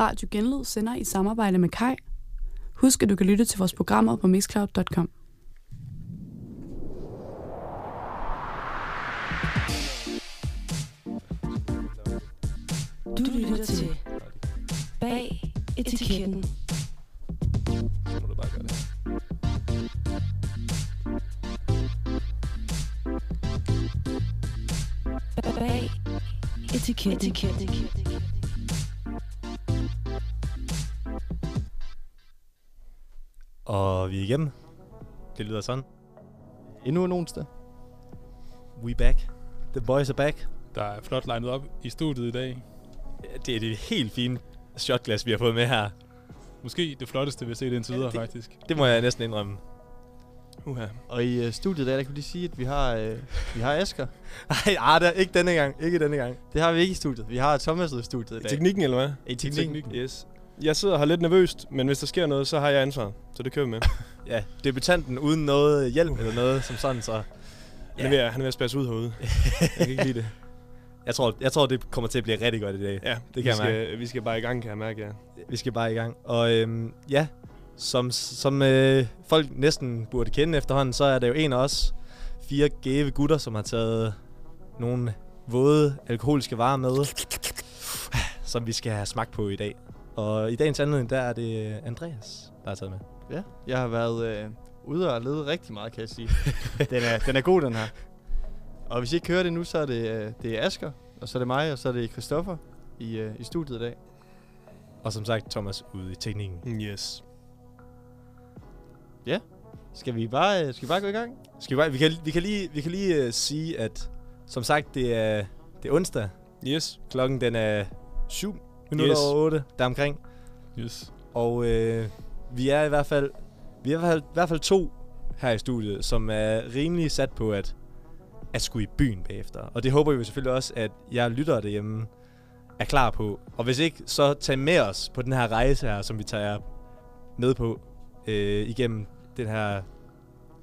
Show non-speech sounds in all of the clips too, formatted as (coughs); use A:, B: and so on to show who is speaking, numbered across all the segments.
A: Radio Genlyd sender i samarbejde med Kai. Husk, at du kan lytte til vores programmer på mixcloud.com.
B: Du lytter til Bag Etiketten.
C: Så må du bare gøre det.
B: Bag Etiketten.
C: Og vi er igennem. Det lyder sådan.
D: Endnu en onsdag.
C: We back. The boys are back.
E: der er flot legnet op i studiet i dag.
C: Det er det helt fine shotglas, vi har fået med her.
E: Måske det flotteste, vi har set indtil
C: Ja,
E: videre,
C: det-
E: faktisk.
C: Det må jeg næsten indrømme.
E: Uha.
D: Og i øh, studiet der, der kan vi lige sige, at vi har, øh, vi har
C: (laughs)
D: Asger.
C: Ej, Arda, ah, ikke denne gang. Ikke denne gang.
D: Det har vi ikke i studiet. Vi har Thomas i studiet i dag.
F: Teknikken, eller hvad?
C: I teknikken.
E: teknikken.
F: Yes. Jeg sidder her lidt nervøst, men hvis der sker noget, så har jeg ansvaret. Så det kører vi med.
C: Ja, debutanten uden noget hjælp eller noget som sådan, så...
F: Han er ved at, han er ved at spasse ud herude. Jeg kan ikke lide det.
C: Jeg tror, jeg tror, det kommer til at blive rigtig godt i dag.
F: Ja,
C: kan
F: vi
C: jeg
F: skal, Vi skal bare i gang, kan jeg mærke, ja.
C: Vi skal bare i gang. Og øhm, ja, som, som øh, folk næsten burde kende efterhånden, så er det jo en af os fire gave gutter, som har taget nogle våde alkoholiske varer med, (sighs) som vi skal have smagt på i dag. Og i dagens anledning, der er det Andreas, der er taget med.
D: Ja, jeg har været øh, ude og lede rigtig meget, kan jeg sige. (laughs) den, er, den er god, den her. Og hvis I ikke hører det nu, så er det, øh, det er Asger, og så er det mig, og så er det Christoffer i, øh, i studiet i dag.
C: Og som sagt, Thomas ude i teknikken.
F: Yes.
D: Skal vi bare, øh, skal vi bare gå i gang?
C: Skal vi, bare- vi, kan, vi kan lige, vi kan lige øh, sige, at som sagt, det er, det er onsdag.
F: Yes.
C: Klokken den er 7 minutter
F: Yes.
C: yes. over 8, der omkring.
E: Yes.
C: Og øh, vi er i hvert fald vi er i hvert fald, i hvert fald to her i studiet, som er rimelig sat på at at skulle i byen bagefter. Og det håber vi selvfølgelig også, at jeg lytter derhjemme er klar på. Og hvis ikke, så tag med os på den her rejse her, som vi tager jer med på øh, igennem den her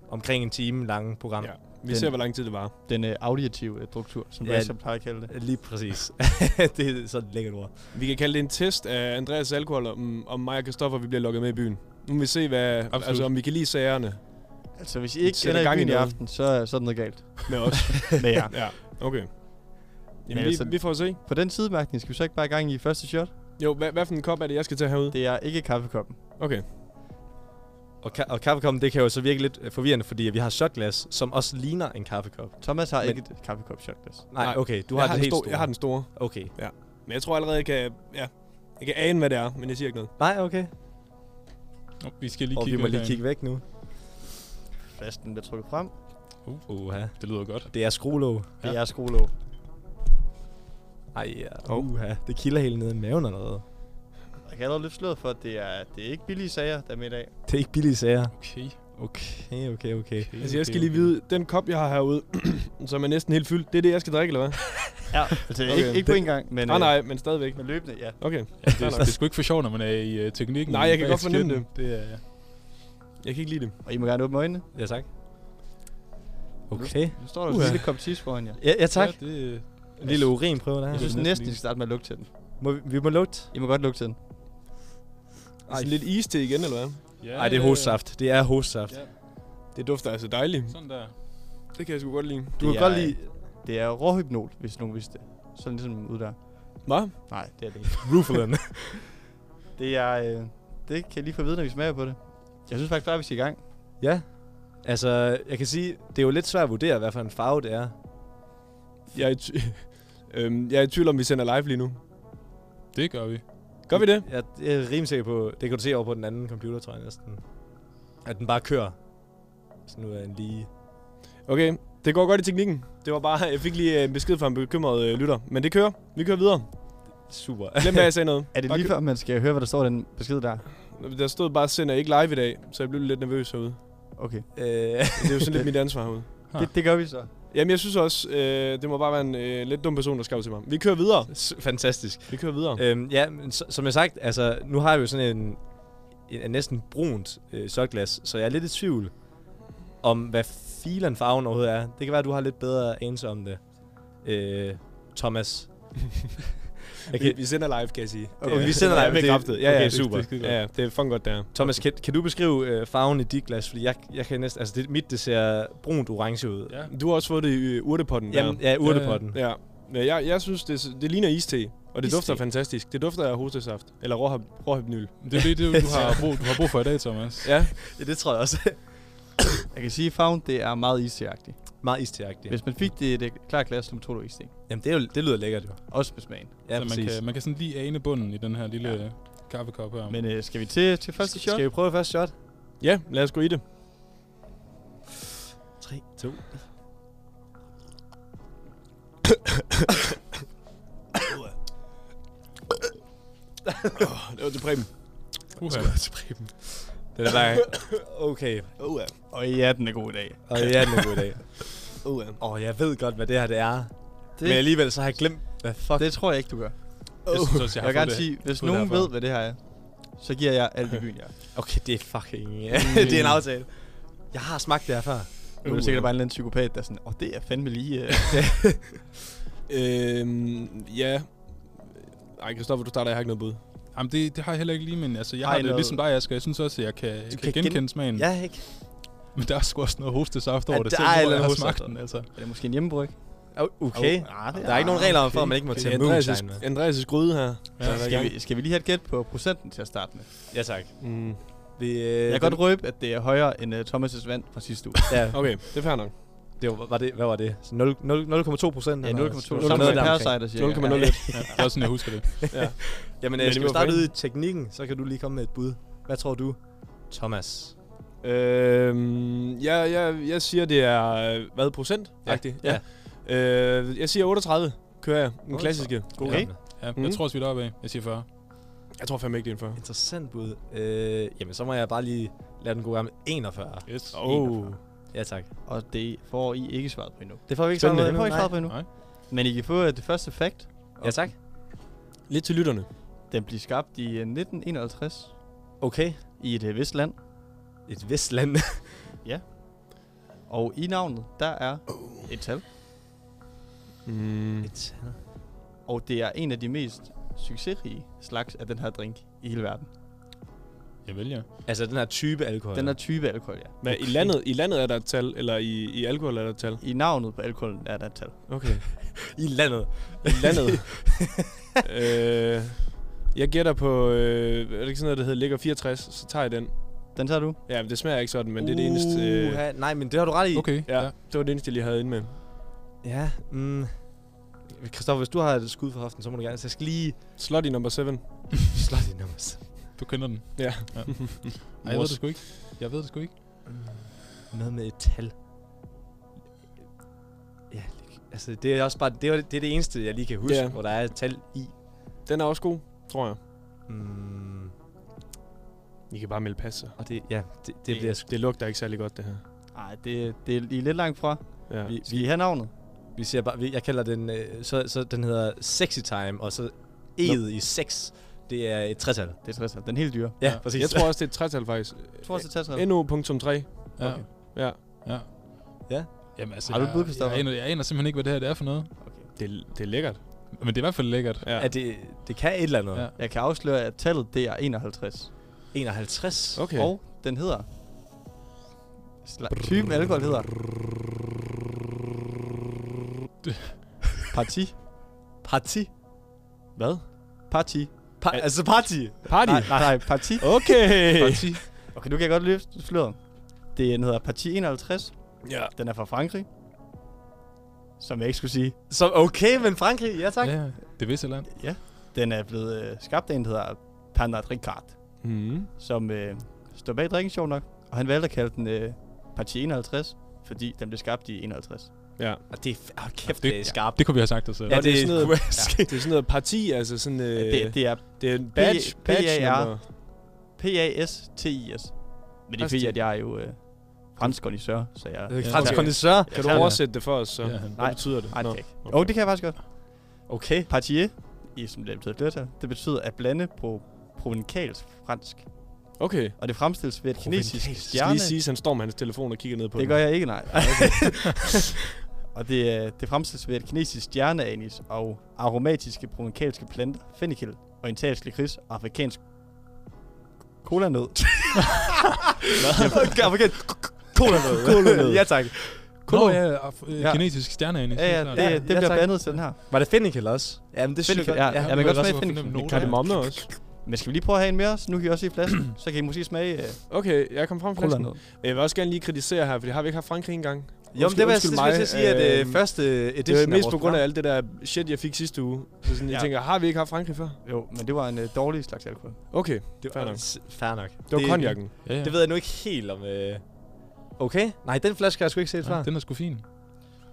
C: omkring en time lange program.
F: Ja. Vi
D: Den-
F: ser, hvor lang tid det var.
D: Den øh, auditive øh, struktur, som
C: Ja.
D: ja. Asger plejer at kalde det.
C: Lige præcis. (laughs) det er sådan et lækkert ord.
F: Vi kan kalde det en test af Andreas' alkohol, om, om mig og Kristoffer vi bliver lukket med i byen. Nu må vi se, hvad,
E: Absolut.
F: altså, om vi kan lide sagerne
D: Altså, hvis I ikke
F: sætter
D: ender i
F: gang i
D: byen i
F: noget.
D: aften, så, øh, så er der noget (laughs) galt
F: med os.
D: med jer.
F: ja, okay. Jamen,
D: Men
F: vi,
D: altså-
F: vi får se.
D: På den sidemærkning skal vi så ikke bare i gang i første shot.
F: Jo, hvad, hvad for en kop er det, jeg skal tage herude?
D: Det er ikke kaffekoppen.
F: Okay.
C: Og, ka- og kaffekoppen, det kan jo så virke lidt øh, forvirrende, fordi vi har shotglas, som også ligner en kaffekop.
D: Thomas har
C: Men-
D: Men... ikke et kaffekop shotglas.
C: Nej,
F: Nej,
C: okay, du
F: jeg
C: har,
F: har
C: det
F: den
C: helt
F: store-
C: store.
F: Jeg har den store.
C: Okay.
F: Men jeg tror allerede, jeg kan, ja, jeg kan ane, hvad det er, men jeg siger ikke noget.
C: Nej, okay.
E: Nå, vi skal lige
C: Og vi
E: kigge
C: må
E: lidt
C: lige
E: herinde.
C: kigge væk nu.
D: Flasten bliver trukket frem.
C: Uha.
E: Det lyder godt.
C: Det er skruelåg.
D: Det
E: Uh, Ja.
D: er skruelåg.
C: Ej, ja. uha. Det kilder helt nede i maven allerede.
D: Jeg kan allerede løfte sløret for, at det er, det er ikke billige sager, der er med i dag.
C: Det er ikke billige sager.
E: Okay.
C: Okay, okay, okay.
E: okay
F: Altså, jeg skal lige vide, den kop, jeg har herude, (clears throat) som er næsten helt fyldt, det er det, jeg skal drikke, eller hvad?
D: Ja, (laughs) altså okay.
F: Okay.
D: ikke, ikke på en gang, men,
F: Nej, ah, nej,
D: øh,
F: men stadigvæk.
D: men løbende, ja.
F: Okay,
E: Ja, det, er, det er sgu ikke for sjovt, når man er i uh, teknikken.
F: Nej, jeg kan
E: bag
F: godt fornemme
E: skærmen. det er,
F: jeg kan ikke lide det.
D: Og I må gerne åbne øjnene.
C: Ja, tak. Okay.
D: Nu står der uh
C: Uha.
D: en lille kop tis foran jer.
C: Ja, ja tak.
E: Ja, det, øh,
C: En lille urinprøve der.
D: Jeg synes
E: næsten
D: næsten, I
E: lige-
D: skal starte med at lugte til den.
C: Må vi, vi må lugte.
D: I må godt lugte til den.
F: Ej, sådan lidt is til igen, eller hvad?
E: ja,
C: Nej, det er hovedsaft. Det er hovedsaft.
E: Ja.
F: Det dufter altså dejligt.
E: Sådan der.
F: Det kan jeg sgu godt lide.
C: Du
D: Det
C: kan
D: er-
C: godt lide
D: Det er råhypnol, hvis nogen vidste det. Sådan ligesom ud der.
F: Hvad?
D: Nej, det er det ikke.
C: Rufflen.
D: Det er, øh, det kan jeg lige få at vide, når vi smager på det. Jeg synes faktisk bare, vi skal i gang.
C: (laughs) ja. Altså, jeg kan sige, det er jo lidt svært at vurdere, hvad for en farve det er.
F: Jeg er, i ty- (laughs) øhm, jeg er i tvivl om, vi sender live lige nu.
E: Det gør vi.
F: Gør vi det?
C: Jeg, jeg er rimelig sikker på, det kan du se over på den anden computer, tror jeg næsten. At den bare kører. Sådan ud af en lige...
F: Okay, det går godt i teknikken. Det var bare, jeg fik lige øh, en besked fra en bekymret øh, lytter. Men det kører. Vi kører videre. (laughs)
C: Super.
F: Glem, hvad jeg sagde noget.
D: Er det
F: Bare
D: lige før, man skal høre, hvad der står i den besked der?
F: kø- Der stod bare, sender ikke live i dag, så jeg blev lidt nervøs herude.
D: Okay.
C: Øh,
F: Det er jo sådan lidt mit ansvar herude.
E: Ah.
D: Det, det gør vi så.
F: Jamen, jeg synes også, øh, det må bare være en øh, lidt dum person, der skrev til mig. Vi kører videre.
C: s- fantastisk.
F: Vi kører videre.
C: Øhm, ja, men s- som jeg sagt, altså, nu har vi jo sådan en, en, en næsten brunt øh, shotglas, så jeg er lidt i tvivl om, hvad filen farven overhovedet er.
F: (laughs)
C: Det kan være, at du har lidt bedre anelse om det, øh, Thomas.
F: Okay. Vi, vi sender live, kan jeg sige.
C: Okay, vi sender live.
F: Det er
C: Det-
F: bekræftet. (laughs) Ja, ja,
C: okay,
F: det-
C: super.
F: Det, det, det, ja, det er fucking godt, der.
C: Thomas, kan, kan du beskrive øh, farven i dit glas? Fordi jeg, jeg kan næsten... Altså, det, mit, det ser brunt orange ud.
E: Ja.
F: Du har også fået det i øh, urtepotten der.
C: Jamen, ja, urtepotten.
F: Ja. Men jeg, jeg synes, det, det ligner iste, og det
C: Iste.
F: dufter fantastisk. Det dufter af hostesaft, eller råhab, råhabnyl.
E: Det er det, det, du har brug, du har brug for i dag, Thomas.
F: Ja,
C: (laughs) Ja, det tror jeg også.
D: Jeg kan sige, at farven det er meget isteagtig.
C: Meget isteagtigt.
D: Hvis man fik det i det klare glas, så tror du iste.
C: Jamen, det, er jo, det lyder lækkert jo.
D: Også med smagen.
C: Ja,
E: så man kan,
C: (laughs)
E: man kan sådan lige ane bunden i den her lille ja. kaffekop her.
D: Men øh, skal vi til, til første shot?
C: Skal vi prøve første shot?
F: (laughs) ja lad os gå i det.
C: 3, 2,
F: Det var til Preben.
E: Uha.
C: Den er bare... Okay.
D: Og ja, den er god i dag.
C: Og ja, den er god i dag.
F: Uh,
C: Åh, oh, jeg ved godt, hvad det her det er. Det. Men
D: Det,
C: alligevel så har jeg glemt, hvad fuck... Det.
D: det tror jeg ikke, du gør. Oh.
E: Jeg synes også, jeg
D: Jeg,
E: har
D: vil gerne
E: fået det.
D: sige, hvis
E: fået det
D: nogen
E: herfra.
D: ved, hvad det her er, så giver jeg alt i byen, jeg.
C: Okay, det er fucking... (laughs) Ja. (laughs)
D: Mm.
C: det er en aftale. Uh. Jeg har smagt det her før.
D: Nu er det sikkert bare en eller anden psykopat, der er sådan, åh, oh, det er fandme lige... Øh.
F: øhm, ja. Ej, Kristoffer, du starter, jeg har ikke noget bud.
E: Jamen, det, det har jeg heller ikke lige, men altså, jeg
D: Har
E: har
D: I
E: det
D: noget-
E: ligesom dig, Asger. Jeg synes også, at jeg kan, kan,
C: kan gen-
E: genkende smagen.
C: (laughs) Ja, ikke?
E: Men der er sgu også noget hostesaft
C: Ja,
E: over det,
C: der
E: selv
C: er et
E: når
C: eller
E: jeg har
C: andet
E: smagt
C: hostesaft.
E: den. Altså.
D: er det måske en hjemmebryg?
C: Okay.
D: Åh, ah, det
C: Der er ikke nogen regler om, for at man ikke må tage moonshine med.
F: Andreas' Andreas' gryde her.
E: Ja,
D: Skal vi, skal vi lige have et gæt på procenten til at starte med?
C: Ja, tak.
F: Mm.
C: Vi, øh,
D: Jeg kan godt røbe, at det er højere end uh, Thomas' vand fra sidste uge.
C: Ja,
F: Okay, det er fair nok.
C: det var, var det, hvad var det? Så 0, 0, 0,2 procent?
D: Ja,
C: Sådan
D: 0,2. Sammen
C: noget
D: med
C: der omkring.
D: Parasite, siger
F: 0,01.
D: (laughs)
E: Ja, det er også sådan, jeg husker det.
C: Jamen,
F: Men
C: øh,
F: det
C: skal
F: var
C: vi starte
F: fint.
C: ud i teknikken, så kan du lige komme med et bud. Hvad tror du, Thomas?
F: Øhm, jeg, jeg, jeg siger, det er, øh, hvad, procent?
C: ja.
F: ja. Øh, jeg siger 38, kører jeg. Den
C: 38.
F: klassiske.
C: Okay.
F: Ja.
C: Ja.
E: Ja,
F: Mm.
E: jeg tror også, vi er deroppe af. Jeg siger 40.
F: Jeg tror fandme ikke, det er en 40.
C: Interessant bud. Øh, jamen, så må jeg bare lige lade den gå gamle 41.
E: Yes.
C: Oh. Ja, tak.
D: Og det får I ikke svaret på endnu.
C: Det får vi ikke
F: Spændende.
C: sammen med.
D: Det får I ikke svaret på endnu.
E: Nej.
D: Men I kan få øh, det første fact.
C: Ja, tak.
F: Lidt til lytterne.
D: Den blev skabt i øh, 1951
C: Okay.
D: i et øh, vist land.
C: Et vist land.
D: Og i navnet, der er et tal.
F: Mm.
C: Et-
D: Og det er en af de mest succesrige slags af den her drink i hele verden.
E: Jeg vælger.
C: altså, den her type alkohol.
D: Den her type alkohol, ja.
F: Hvad, i, landet, I landet er der et tal, eller i, i alkohol er der et tal?
D: I navnet på alkoholen er der et tal.
F: Okay.
C: I landet.
F: I landet. (laughs) øh, jeg gætter på, øh, er det ikke sådan noget, der hedder ligger 64, så tager jeg den.
D: Den tager du.
F: Ja, men det smager ikke sådan, men det er det eneste... Øh,
C: Uha, nej, men det har du ret i.
E: Okay.
F: ja, det var det eneste, jeg lige havde inde med.
C: Ja, mm. Christoffer, hvis du har et skud for hoften, så må du gerne. Så jeg skal lige
F: Slutty number 7.
C: slå dit nummer.
E: Du kender den.
F: Ja.
E: ja. Ej, jeg ved det sgu ikke. Jeg ved det sgu ikke.
C: Noget med et tal. Ja, altså det er også bare, det er det, er det eneste, jeg lige kan huske,
F: Ja.
C: yeah. hvor der er et tal i.
F: Den er også god, tror jeg.
C: Mm.
F: I kan bare melde pas, så.
C: Og det, ja, det, det
D: Det-
C: bliver sgu-
F: Det lugter ikke særlig godt, det her.
D: Nej, det, det er I er lidt langt fra.
F: Ja.
C: Vi,
D: Skal I
C: vi,
D: have navnet?
C: vi ser bare, vi, jeg kalder den, øh, så, så den hedder Sexy Time, og så E'et i 6, det er et tretal.
D: Det er 60. Den helt dyre.
C: Ja,
E: Ja,
C: præcis.
F: Jeg tror også, det er et tretal, faktisk.
D: Jeg tror også, det er 60.
F: NO.3.
E: Ja.
D: Okay.
F: Ja.
E: ja.
C: Ja.
E: Jamen, altså,
D: Har du et bud,
E: jeg-
D: Christoffer?
E: Jeg, aner- jeg aner simpelthen ikke, hvad det her det er for noget.
F: Det, det er lækkert.
E: Men det er i hvert fald lækkert.
F: Ja.
C: At det, det kan et eller andet.
E: Ja.
C: Ja.
D: Jeg kan afsløre, at tallet det er 51.
C: 51.
F: Okay.
D: Og den hedder... Sla- typen alkohol (laughs) hedder... Parti.
C: Parti.
F: Hvad?
D: Parti.
C: Pa-
F: Al-
C: altså party.
F: Party?
D: Nej, nej, nej, parti.
F: (laughs) Okay.
E: Parti.
D: (laughs) Okay, nu kan jeg godt løfte sløret. Det den hedder Parti 51.
F: Ja.
D: Den er fra Frankrig. Som jeg ikke skulle sige.
C: Så okay, men Frankrig, ja tak.
E: Ja, det visse land.
D: Ja. Den er blevet øh, skabt af en, der hedder Pernod Ricard.
F: Mm.
D: som øh, står bag drikken, sjov nok. Og han valgte at kalde den øh, Parti 51, fordi den blev skabt i 51.
F: Ja.
C: Og det er f- oh, kæft,
E: Det-
C: det er skarpt.
E: Det kunne vi have sagt os selv.
C: Ja,
F: Og det,
C: det
F: er sådan noget,
C: er- (laughs)
F: ja, (laughs) det er sådan noget parti, altså sådan... Øh,
D: Øh,
F: det, det,
D: det, det er
F: det, er en badge,
D: P-
F: badge
D: PAR.
F: nummer.
D: P-A-S-T-I-S. Men det er fordi,
F: Pasti.
D: at jeg er jo øh, fransk kondisør, så jeg...
C: Øh,
E: Ja,
C: Fransk
E: okay.
C: kondisør. (laughs)
F: Kan
D: Ja.
F: du oversætte det for os, så?
E: Ja.
F: Hvad
D: Nej.
F: betyder det?
D: Ej, det
F: Nå.
D: kan jeg ikke. Jo, det kan jeg faktisk godt.
C: Okay.
D: Partier, i, som det er blevet flertal, det betyder at blande på provenkals fransk.
F: Okay.
D: Og det fremstilles ved et kinesisk
C: Provencalsk.
F: Jeg skal lige
D: stjerne. (laughs)
F: sige, at han står med hans telefon og kigger ned på
D: Det
F: den.
D: gør jeg ikke, nej. Og det, øh, det fremstilles ved, at kinesisk stjerneanis og aromatiske provenkalske planter, fennikel, orientalsk lakrids og afrikansk colanød. Hvad? Afrikansk
C: (laughs)
D: colanød. colanød.
C: ja, tak.
E: Nå,
D: Kolo.
E: ja, af- øh,
D: Ja.
E: kinesisk stjerneanis.
D: Ja, ja, det,
C: Ja,
D: det
C: ja,
D: bliver
C: tak.
D: bandet til den her.
C: Var det Finnikel også? Jamen, det synes jeg
D: Fennikel,
C: godt.
D: ja, ja, man kan godt smage fennikel.
F: Kan det momler også?
D: Men skal vi lige prøve at have en mere, så nu kan I også se
C: (clears throat)
D: flasken. så kan I måske smage øh,
F: Okay, jeg kom frem med flasken. Men Jeg vil også gerne lige kritisere her, for har vi ikke haft Frankrig engang?
C: Jo, men det var jeg
F: Undskyld
C: det skulle jeg til at sige,
F: mig,
C: at øh,
F: øh, Det
C: første
F: er
C: edition
F: mest på
C: af vores
F: grund af
C: program-
F: alt det der shit, jeg fik sidste uge. Så sådan, ja.
D: Ja.
F: jeg tænker, har vi ikke haft Frankrig før?
D: Jo, men det var en øh, dårlig slags alkohol.
F: Okay,
C: Det
F: Fair nok.
C: var, fair nok.
F: det var konjakken.
E: Ja, ja.
C: Det ved jeg nu ikke helt om... Øh... Okay. Nej, den flaske har jeg sgu ikke set før.
E: Nej, den er sgu fin.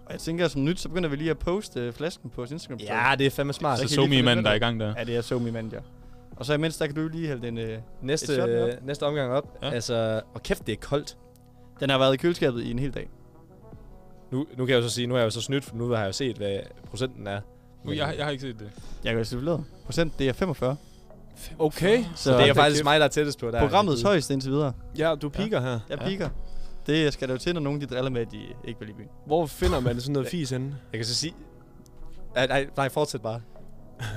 D: Og jeg tænker, som nyt, så begynder vi lige at poste øh, flasken på vores Instagram.
C: Ja, det er fandme smart.
E: Så
D: kan I
E: så
D: lige få
E: mi
D: det
E: manden,
D: med
E: der er i
D: dig.
E: gang der.
D: Ja, det er så min mand, ja. Og så imens, der kan du lige hælde den... Øh,
C: Næste,
D: Et shot mere.
C: øh, næste omgang op. Ja.
E: Ja.
C: Altså, og kæft, det er koldt.
D: den har været i køleskabet i en hel dag.
C: Nu, nu kan jeg jo så sige, nu er jeg jo så snydt, for nu har jeg jo set, hvad procenten er.
E: Uh, Jeg, jeg har ikke set det.
D: Jeg kan jo selvfølgelig Procent, det er 45.
F: Okay,
D: Så
C: det er jo
F: da
C: faktisk
F: kæft.
C: mig, der er tættest på. Der
D: programmets højeste indtil videre.
F: ja, du piker her.
D: Jeg ja. piker. Det skal der jo til, når nogen de driller med, at de ikke vil i byen.
F: Hvor finder man sådan noget fis henne?
C: Jeg kan så sige... Ej, nej, nej, fortsæt bare.
F: (laughs)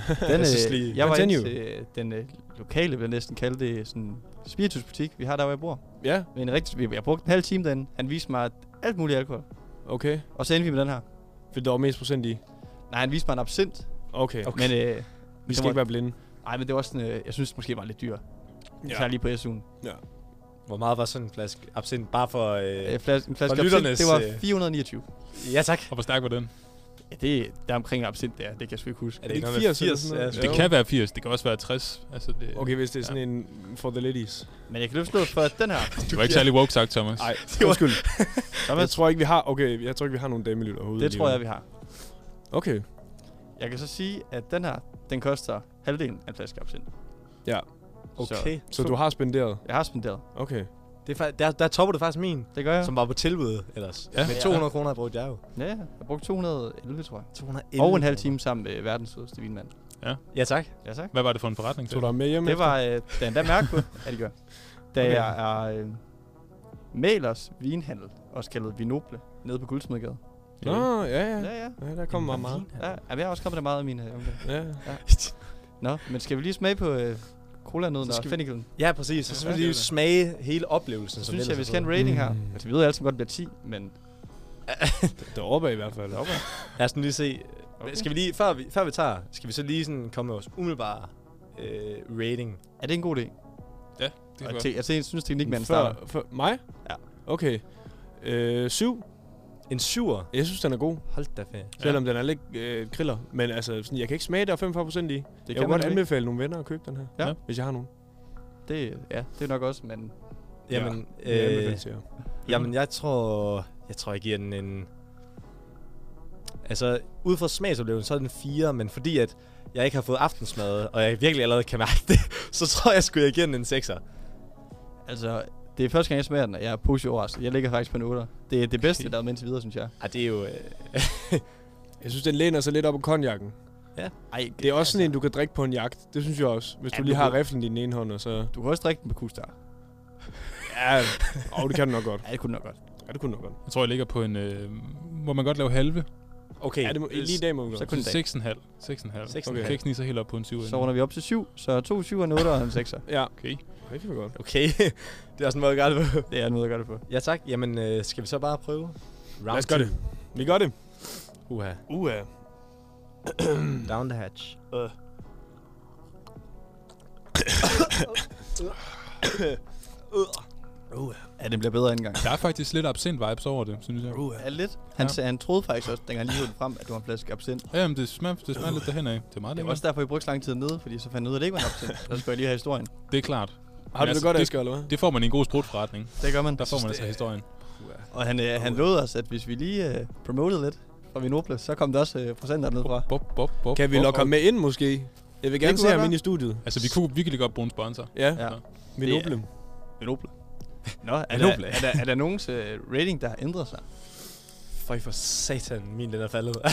D: Den,
C: Jeg
F: øh,
C: synes lige-
D: jeg var inde
F: Continue.
D: til øh, den øh, lokale, vil jeg næsten kalde det, sådan spiritusbutik, vi har der, hvor jeg bor.
F: Ja,
D: Med en rigtig, jeg brugte en halv time derinde. Han viste mig alt muligt alkohol.
F: okay.
D: Og så endte vi med den her.
F: For der var mest procent i.
D: Nej, han viste mig en absint.
F: Okay,
D: Okay. Men, øh,
F: vi
D: det
F: skal
D: var-
F: ikke være blinde.
D: ej, men det var sådan, øh, jeg synes det måske var lidt dyr. Ja. lige på SU'en.
C: Hvor meget var sådan en flaske absint? Bare for... Øh...
D: Øh, flas, en flaske
C: For
D: absint,
C: lytternes,
D: det var
C: øh,
D: 429.
C: Ja, tak.
E: Og hvor stærk var den?
D: Ja, det der er omkring absint der, det kan jeg sgu ikke huske.
C: Er
F: det
C: det
F: ikke
C: ikke noget med
F: 80 eller
C: 80?
F: sådan noget?
C: Ja,
E: Det
F: Jo.
E: kan være 80, det kan også være 60. Altså, det,
F: Okay, hvis det er sådan en for the ladies.
D: Men jeg kan løfte slået for den her.
E: Du var ikke særlig woke sagt,
F: (laughs)
E: Thomas.
F: Nej, undskyld.
D: Thomas,
F: Jeg tror ikke, vi har, okay, jeg tror ikke, vi har nogen damelytter overhovedet.
D: det tror jeg,
F: alligevel.
D: vi har.
F: Okay,
D: Jeg kan så sige, at den her, den koster halvdelen af en flaske absint.
F: Ja.
C: Okay.
F: så du har spenderet.
D: Jeg har spenderet.
F: Okay.
C: Det er, fa- der, der topper du faktisk min,
D: Det gør jeg.
C: som var på tilbud ellers.
E: Ja.
C: Med 200 kroner brugte jeg jo.
D: Ja, jeg brugte 211, tror jeg.
C: 211
D: Og en halv time sammen med verdens sødeste vinmand.
C: Ja, tak.
D: Ja, tak.
E: Hvad var det for en forretning?
F: Tog du ham med hjem?
D: Det
F: efter?
D: var øh, der endda mærke på, at det gør. Da
F: Okay.
D: okay. jeg er øh, Malers vinhandel, også kaldet Vinoble, nede på Guldsmedgade.
F: Nå, ja, ja.
D: Ja, ja.
F: ja der kom meget meget.
D: ja jamen, jeg har også kommet der meget af mine øh, omgang.
F: Ja.
D: Nå, men skal vi lige smage på øh, colanøden
F: Så
D: og
F: skal vi-
D: fennikelen?
C: Ja, præcis. Så skal vi
F: det er
C: lige
F: det.
C: smage hele oplevelsen.
D: Så
C: som
D: synes
C: ellers
D: jeg,
C: er
D: vi skal have
C: fået.
D: en rating her.
F: Mm.
D: Altså, vi ved altid godt, at det bliver 10, men
F: Deroppe i hvert fald.
C: Lad os nu lige se. Okay. Skal vi lige, før vi, før vi tager, skal vi så lige sådan komme med vores umiddelbare øh, rating.
D: er det en god idé?
E: Det
D: Og
E: kan godt.
D: te- Jeg te- synes, teknikmanden starter.
F: Før, før, mig?
D: Ja.
F: Okay. Øh, syv.
C: En syver.
F: Jeg synes, den er god.
C: Hold da ferie.
E: Ja.
F: Selvom den er lidt øh, kriller. Men altså, sådan, jeg kan ikke smage, der er 45% i.
D: Det
F: jeg kan godt anbefale nogle venner at købe den her.
D: Ja.
F: Hvis jeg har nogen.
D: Det, ja, det er nok også, men
C: Jamen,
F: Øh. Jeg
C: ja.
F: anbefaler
C: øh,
F: til jer.
C: jamen jeg tror, jeg tror, jeg giver den en... Altså, ud fra smagsoplevelsen, så er den 4, men fordi at jeg ikke har fået aftensmad, og jeg virkelig allerede kan mærke det, (laughs) så tror jeg sgu, jeg giver den en 6'er.
D: altså, det er første gang, jeg smager den, og jeg er positivt overrasket. Jeg ligger faktisk på en 8. Det er det bedste, der er med indtil videre, synes jeg.
C: Ej, det er jo... Øh, (laughs)
F: Jeg synes, den læner sig lidt op på konjakken.
D: Ej,
F: Det er også sådan en, du kan drikke på en jagt. Det synes jeg også. Hvis
D: Ja,
F: du
D: du
F: lige har
D: kan-
F: riflen i den ene hånd, og så...
D: Du kan også drikke den på kustar.
F: Ja, oh, det kan du nok godt.
D: Ja, det kunne nok godt.
F: Ja, det kunne du nok godt.
E: Jeg tror, jeg ligger på en... Øh, må man godt lave halve?
C: okay. Øh,
F: Ja, det må, lige i dag må vi
D: Så
F: godt.
D: kun en dag.
E: 6,5. 6,5.
C: 6,5.
E: 6,5. Okay. 6,9 så helt op på en 7.
D: Så runder vi op til 7, så 2 7 en 8 og en 6.
F: Ja,
E: Okay.
F: det kan vi godt.
C: Okay, (laughs) det er også en måde at gøre det på.
D: Det er noget, jeg gør det på.
C: Ja tak, jamen øh, skal vi så bare prøve? Round
F: Lad os gøre det. Vi gør det.
C: Uha.
F: Uha.
C: (clears throat) Down the hatch.
D: Ja, den bliver bedre end engang.
E: Der er faktisk lidt absent vibes over det, synes jeg.
D: Ja, lidt. Han, ja. han troede faktisk også, dengang han lige hævde den frem, at det var en flaske absint.
E: Ja, jamen, det smager, det smager lidt derhen af. Det er meget
D: Det var
E: lækkert.
D: også derfor, I brugte så lang tid nede, fordi så fandt jeg ud af, at det ikke var en
E: (laughs)
D: absint. Så skulle jeg lige have historien.
E: Det er klart.
F: Har du det
E: altså,
F: godt,
E: det-
F: Asger, eller hvad?
E: Det får man i en god sprutforretning.
D: Det gør man.
E: Der får man altså historien.
D: Og han, øh, han lovede os, at hvis vi lige øh, promotede lidt fra Vinople, så kom der også øh, procenter ned fra.
E: Bop, bop, bop,
F: Kan vi
E: bop,
F: lokke ham
E: bop.
F: med ind, måske? Jeg vil gerne
D: kunne
F: se
D: godt
F: ham
D: være.
F: ind i studiet.
E: Altså, vi kunne virkelig godt bruge en sponsor.
F: Ja,
D: Ja.
F: vi
D: Det er-
F: noble.
D: Vinople. Nå, er, der,
C: Vinople.
D: er, der, er der nogens øh, rating, der har ændret sig?
C: Føj for satan, min den er faldet. (laughs)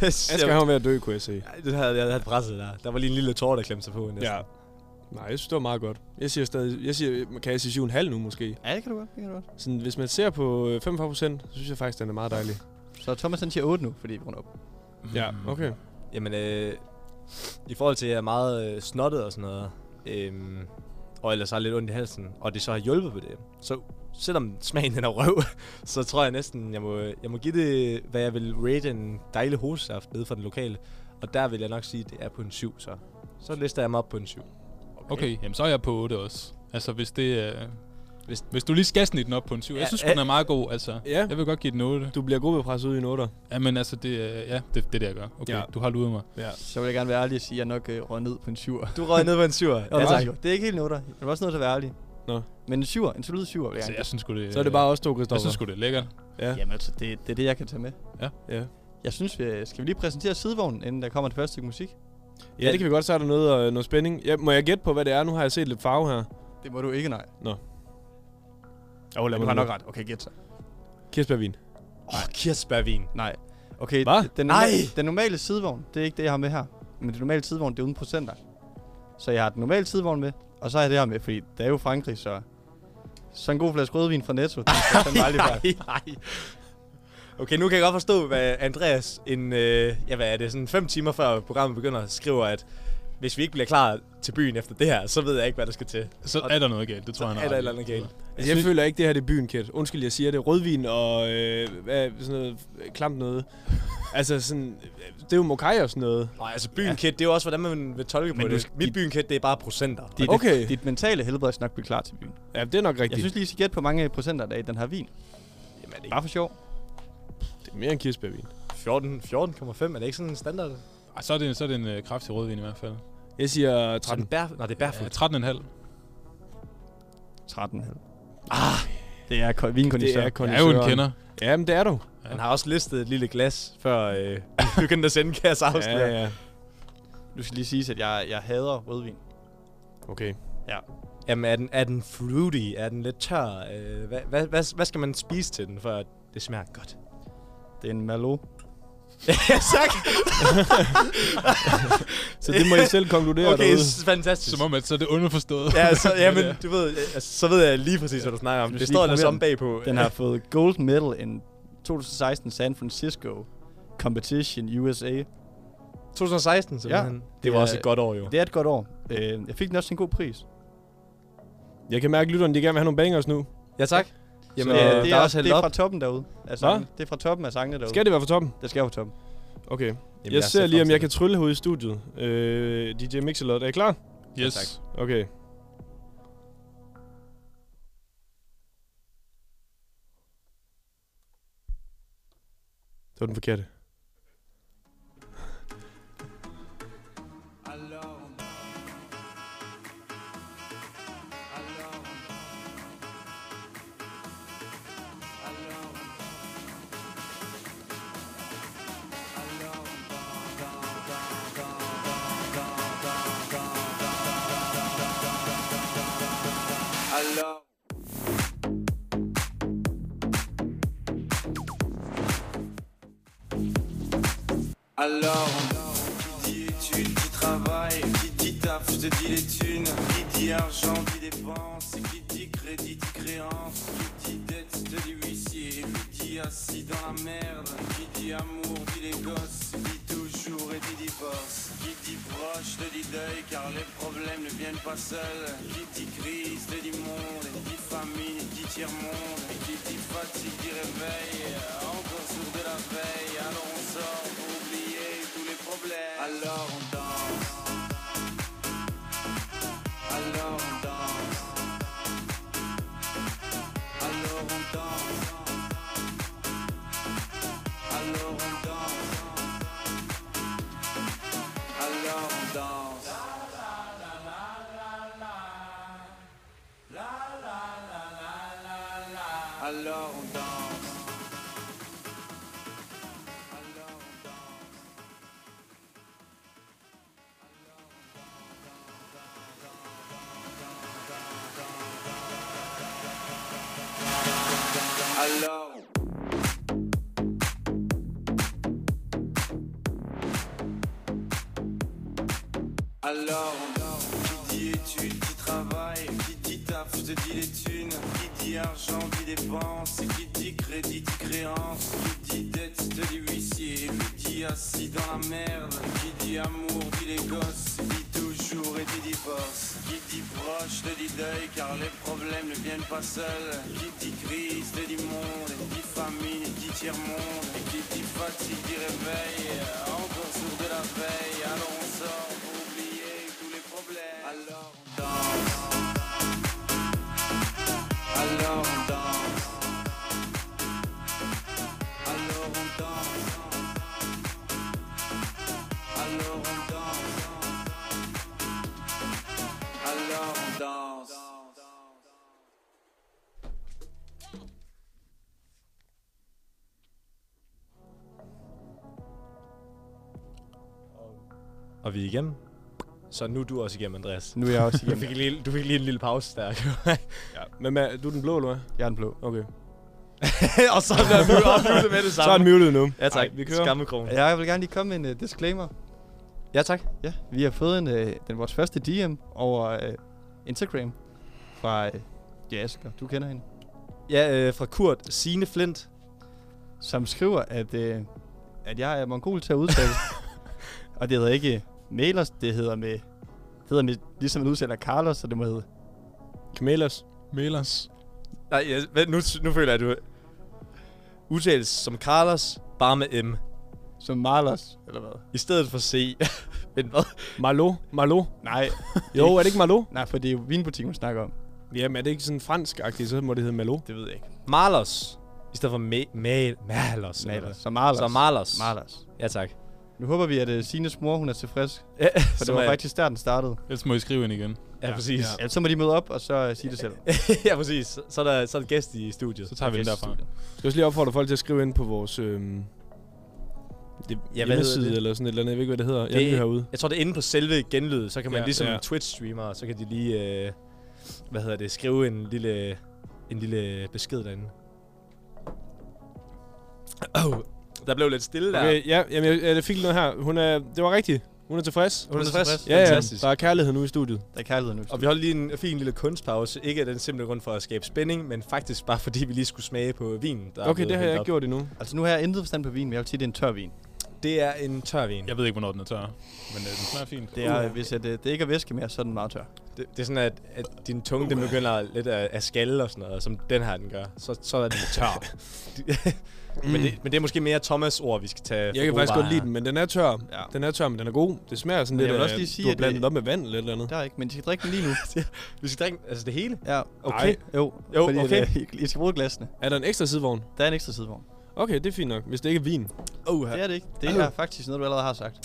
F: Asger, han var ved at dø, kunne jeg se.
C: det havde jeg havde presset der. Der var lige en lille tårer, der klemte sig på. Næsten.
F: Ja. Nej, jeg synes, det var meget godt. Jeg siger stadig, jeg siger, kan jeg sige 7,5 nu måske?
D: Ja, det kan du godt. Det kan du godt.
F: Sådan, hvis man ser på øh, 45 procent, så synes jeg faktisk, den er meget dejlig.
D: Så Thomas han siger 8 nu, fordi vi runder op.
F: Ja, okay.
C: Jamen, øh, i forhold til, at jeg er meget øh, snottet og sådan noget, øh, og ellers har lidt ondt i halsen, og det så har hjulpet på det, så selvom smagen den er røv, (laughs) så tror jeg næsten, jeg må, jeg må give det, hvad jeg vil rate en dejlig hovedsaft nede fra den lokale. Og der vil jeg nok sige, at det er på en 7, så. Så lister jeg mig op på en 7.
E: Okay, jamen så er jeg på 8 også. Altså, hvis det øh,
C: Hvis-
E: hvis, hvis du lige skal snitte den op på en 7.
C: Ja,
E: jeg synes
C: ja.
E: den er meget god, altså.
F: Ja,
E: Jeg vil godt give den 8.
F: du bliver gruppepresset ud i en 8'er.
E: Jamen altså, det, øh, ja, det, det er det, jeg gør. Okay,
F: Ja.
E: ja. du har luret mig.
F: Ja.
D: Så vil jeg gerne være ærlig og sige, at jeg nok øh, røg ned på en 7'er.
C: Du røg ned på en 7. ja, tak.
D: Det er ikke helt noget der. Jeg var også nødt til at være ærlig.
F: Nå.
D: Men en 7'er, en solid 7'er vil jeg
E: Altså,
D: gerne.
E: jeg synes sgu, det,
F: Så er det bare os to, Christoffer.
E: jeg synes sgu, det er lækkert.
F: ja.
D: Jamen altså, det, det er det, jeg kan tage med.
F: Ja.
D: Jeg synes, vi, skal vi lige præsentere sidevognen, inden der kommer det første stykke musik?
F: ja, det kan vi godt. Så er der noget, øh, noget spænding. Ja, må jeg gætte på, hvad det er? Nu har jeg set lidt farve her.
D: Det må du ikke, nej.
F: Åh, oh,
D: Men du har nok ret. Okay, gæt så.
F: Kirsebærvin.
C: Åh, oh, kirsebærvin.
D: Nej. Okay,
F: Hva?
D: den,
C: Nej!
D: norma- den normale sidevogn, det er ikke det, jeg har med her. Men den normale sidevogn, det er uden procenter. Så jeg har den normale sidevogn med, og så har jeg det her med, fordi det er jo Frankrig, så... Så en god flaske rødvin fra Netto,
F: Ah,
D: den skal fandme aldrig være.
C: Nej, nej. Okay, nu kan jeg godt forstå, hvad Andreas, en, øh, ja, hvad er det, sådan fem timer før programmet begynder, skriver, at hvis vi ikke bliver klar til byen efter det her, så ved jeg ikke, hvad der skal til.
E: Så
C: Og-
E: er der noget galt, det tror jeg
C: er
E: nok.
C: der et eller andet galt.
F: Altså, jeg føler ikke, det her det er byen, Kjeld. Undskyld, jeg siger det. Rødvin og øh, hvad, sådan noget øh, klamt (laughs) noget. altså, sådan, øh, det er jo mokai og sådan noget.
C: Nej, altså bynkit, ja. det er jo også, hvordan man vil tolke
D: Men
C: på
D: du
C: det.
D: skal-
C: Mit bynkit, det er bare procenter.
D: Dit,
F: Okay.
D: dit mentale helbred skal nok blive klar til byen.
F: Ja, det er nok rigtigt.
D: Jeg synes lige, I skal gætte på hvor mange procenter, der er i den her vin.
C: Jamen, er det
D: Bare for sjov.
F: det er mere end kirsebærvin.
C: ikke 14, 14,5? Er det ikke sådan en standard?
E: Ej, så er det, så er det en øh, kraftig rødvin i hvert fald.
F: Jeg siger
C: Så er
F: 13.
C: den bær... Nej, det er
E: Ja,
C: barefoot.
E: 13,5.
D: 13,5. Ah, det er ko- vinkondisør.
F: Det er
E: Jeg er jo en
F: kondisøren.
E: kender.
F: Ja, men det er du.
C: Han har også listet et lille glas, før øh, (laughs) vi begyndte at sende kasse afsløre. Ja, ja.
D: Du skal lige sige, at jeg, jeg hader rødvin.
F: Okay.
C: Jamen, er den, er den fruity? Er den lidt tør? Øh, hvad, hvad, hvad, hvad skal man spise til den, for at det smager godt? (laughs)
D: Det er en Merlot.
C: ja, tak!
F: Så det må I selv (laughs) konkludere
C: Okay,
F: derude.
C: s- fantastisk.
E: Som om, at så er det underforstået.
C: Ja,
E: (laughs)
C: så,
E: Hvad
C: jamen,
E: det er.
C: du ved, øh, altså, så ved jeg lige præcis, hvad du snakker om.
D: Du
C: Det
D: skal
C: står
D: lige
C: ellers om
D: promovere
C: bagpå.
D: Den har
C: (laughs)
D: fået gold medal i 2016 San Francisco Competition USA.
C: 2016, simpelthen. Ja. Det var
D: Ja.
C: også et godt år, jo.
D: Det er et godt år. Øh, jeg fik den også til en god pris.
F: Jeg kan mærke, at lytterne de gerne vil have nogle bangers nu.
C: Ja, tak. Jamen,
F: Så,
C: øh,
F: øh,
C: der
D: det
C: er
D: er,
C: også
D: det
C: hældt
D: er
C: op.
D: fra toppen derude. Altså,
F: Hvad?
D: det er fra toppen af sangene derude.
F: Skal det være for toppen?
D: Det skal være fra toppen.
F: Okay.
C: Jamen,
F: jeg, ser lige, om
C: frem
F: jeg
C: til
F: kan trylle herude i studiet. Øh, DJ Mixelot, er I klar?
E: Yes.
C: tak.
F: Okay. Det var den forkerte.
G: Alors, qui dit études, qui travaille, qui dit taf, je te dis les thunes, qui dit argent, dit dépense, et qui dit crédit, dit créance, qui dit dette, je te dis huissier, qui dit assis dans la merde, qui dit amour, dit les gosses, dit toujours et dit divorce, qui dit proche, je te dis deuil, car les problèmes ne viennent pas seuls, qui dit crise, je te dis monde, et dit famine, et dit tiers-monde, et qui dit fatigue, dit réveil, encore sur de la veille, alors on sort pour oublier tous les problèmes, alors on danse, alors on danse, alors on danse, alors on danse, alors on danse. Alors on danse. Alors on danse. Alors. Alors, qui dit études, qui travaille, qui dit taf, je te dis les thunes, qui dit argent, dit dépense, qui dit crédit, dit créance, qui dit dette, je te dit assis dans la merde, qui dit amour dit les gosses, dit toujours et dit divorce, qui dit proche te dit deuil car les problèmes ne viennent pas seuls, qui dit crise te dit monde, dit famine et dit tiers monde, et qui dit fatigue dit réveil, encore sourd de la veille, alors on sort pour oublier tous les problèmes, alors on danse, alors on danse, alors on danse. Alors on danse. Alors on danse.
C: Og vi er igennem. Så nu er du også igennem, Andreas.
D: Nu er jeg også
C: Du
D: igennem.
C: fik lige, du fik lige en lille pause der.
F: Ja. Men Mads, du er den blå, eller hvad?
D: Jeg er den blå.
F: Okay.
C: (laughs) og så er du afsluttet med det
F: Så er den
C: samme.
F: muted nu.
C: Ja tak,
F: Ej, vi kører.
C: Skammekrogen.
D: Jeg vil gerne lige komme med en uh, disclaimer.
C: Ja tak.
D: Ja, vi har fået en, øh, den, vores første DM over øh, Instagram fra øh, ja, Asger. Du kender hende.
C: Ja, øh, fra Kurt Sine Flint.
D: Som skriver, at, øh, at jeg er mongol til at udtale. og det hedder ikke Melers, det hedder med... Det hedder med, ligesom man udtaler Carlos, så det må hedde...
F: Kamelas.
E: Melers.
C: Nej, ja, vent, nu, nu føler jeg, at du udtales som Carlos, bare med M.
D: Som Marlos, eller hvad?
C: I stedet for C. (laughs) Men hvad?
F: Malo. Malo.
D: Nej,
F: Jo, er det ikke Malo?
D: nej, for det er jo vinbutikken, hun snakker om.
F: Jamen, er det ikke sådan fransk-agtigt, så må det hedde Malo.
D: Det ved jeg ikke.
C: Marlos. I stedet for Ma- Ma- Malos. eller hvad?
D: Malers. Så Marlos.
C: Så Marlos.
D: Marlos.
C: Ja tak.
D: Nu håber vi, at uh, Sines mor, hun er tilfreds.
C: Ja, (laughs)
D: For
C: som
D: det var
C: er-
D: faktisk der, den startede.
E: Ellers må I skrive ind igen.
C: Ja, præcis.
D: Ja, så må de møde op, og så øh, sige det selv.
C: (laughs) ja, præcis. Så- Så er der, så er der gæst i studiet.
E: Så tager vi den derfra.
F: Jeg skal også lige opfordre folk til at skrive ind på vores øhm, det, ja,
C: hedder
F: hjemmeside
C: det?
F: eller sådan et eller andet. Jeg ved ikke, hvad det hedder.
C: Det-
F: Jeg er ny herude.
C: Jeg tror, det er inde på selve genlydet, så kan man ja,
E: Ja,
C: ligesom
E: ja.
C: Twitch-streamer, så kan de lige, øh, hvad hedder det, skrive en lille, en lille besked derinde. (clears throat) Oh, der blev lidt stille der.
F: Okay, ja, jamen, jeg, jeg fik noget her. Hun er, det var rigtigt. Hun er tilfreds.
C: Hun er tilfreds.
F: Ja, ja,
C: Fantastisk.
F: der er kærlighed nu i studiet.
D: Der er kærlighed nu.
C: Og vi holdt lige en fin lille kunstpause. Ikke af den simple grund for at skabe spænding, men faktisk bare fordi vi lige skulle smage på vinen. Der er
F: Okay,
C: blevet
F: det har jeg
C: hældt
F: ikke
C: op.
F: gjort endnu.
D: Altså nu har jeg intet forstand på vin, men jeg vil sige, det er en tør vin.
C: Det er en tør vin.
E: Jeg ved ikke, hvornår den er tør, men øh, den smager fint.
D: Det er, uh. hvis at, øh, det ikke er væske mere, så er den meget tør.
C: Det, det er sådan, at, at din tunge den begynder lidt at, at skalle og sådan noget, som den her den gør. Så, så er den tør.
F: (laughs)
C: men, det, men det er måske mere Thomas' ord, vi skal tage for
F: Mm. Jeg kan
C: gode
F: faktisk godt
C: varer.
F: lide den, men den er tør.
D: Ja.
F: Den er tør, men den er god. Det smager sådan
D: Men jeg
F: lidt
D: vil
F: af,
D: også lige sige,
F: du har
D: at
F: blandet
D: det-
F: op med vand eller et eller andet.
D: Der er ikke, men de skal drikke den lige (laughs) nu.
C: Vi skal drikke altså det hele.
D: ja.
C: Okay.
D: Jo,
C: Jo,
D: fordi
C: okay.
D: At, øh, I skal bruge glasene.
F: Er der en ekstra sidevogn?
D: Der er en ekstra sidevogn.
F: Okay, det er fint nok, hvis det ikke er vin.
C: Oh,
D: Det er det ikke. Det
C: Au.
D: er faktisk noget, du allerede har sagt.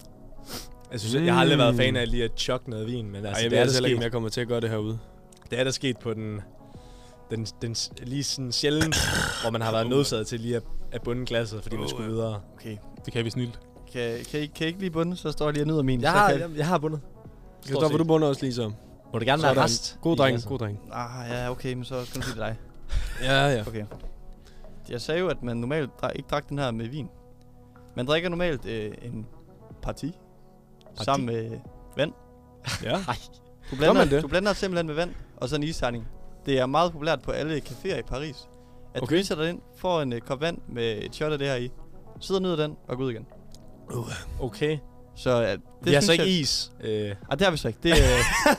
C: Jeg, synes, jeg har aldrig været
F: Mm.
C: fan af lige at chokke noget vin, men altså,
F: Ej, jeg
C: det,
F: ved
C: er
F: altså heller
C: der
F: ikke, om
C: sket,
F: jeg kommer til at gøre det herude.
C: det er der sket på den, den, den s- lige sådan sjældent, hvor man har været nødsaget til lige at, at bunde glasset, fordi man skulle videre.
D: Okay.
E: Det kan vi snilt.
D: Kan, kan, I, kan I ikke lige bunde, så står jeg lige og nyder min.
C: Jeg
D: så
C: har,
D: kan...
C: jeg, jeg har bundet.
F: Kristoffer,
C: set.
F: du bunder også lige så.
C: Må det gerne være rest?
F: God
C: i
F: dreng,
C: glasset?
F: god dreng.
D: Ah, ja, okay, men så skal du sige det dig.
F: Ja, ja.
D: Okay. Jeg sagde jo, at man normalt dra- ikke drak den her med vin. Man drikker normalt øh, en parti,
C: Parti?
D: sammen med vand. (laughs)
F: Ja.
D: Du blander,
F: man det?
D: du blander simpelthen med vand, og så en isterning. Det er meget populært på alle caféer i Paris. At okay.
F: Okay.
D: du lige sætter dig ind, får en uh, kop vand med et shot af det her i, sidder ned den og går ud igen.
C: Okay.
D: Så uh, det
C: Det vi har så
D: synes
C: ikke
D: jeg...
C: is. Øh,
D: Ah, det har vi så ikke.
C: (laughs)
D: Det, uh,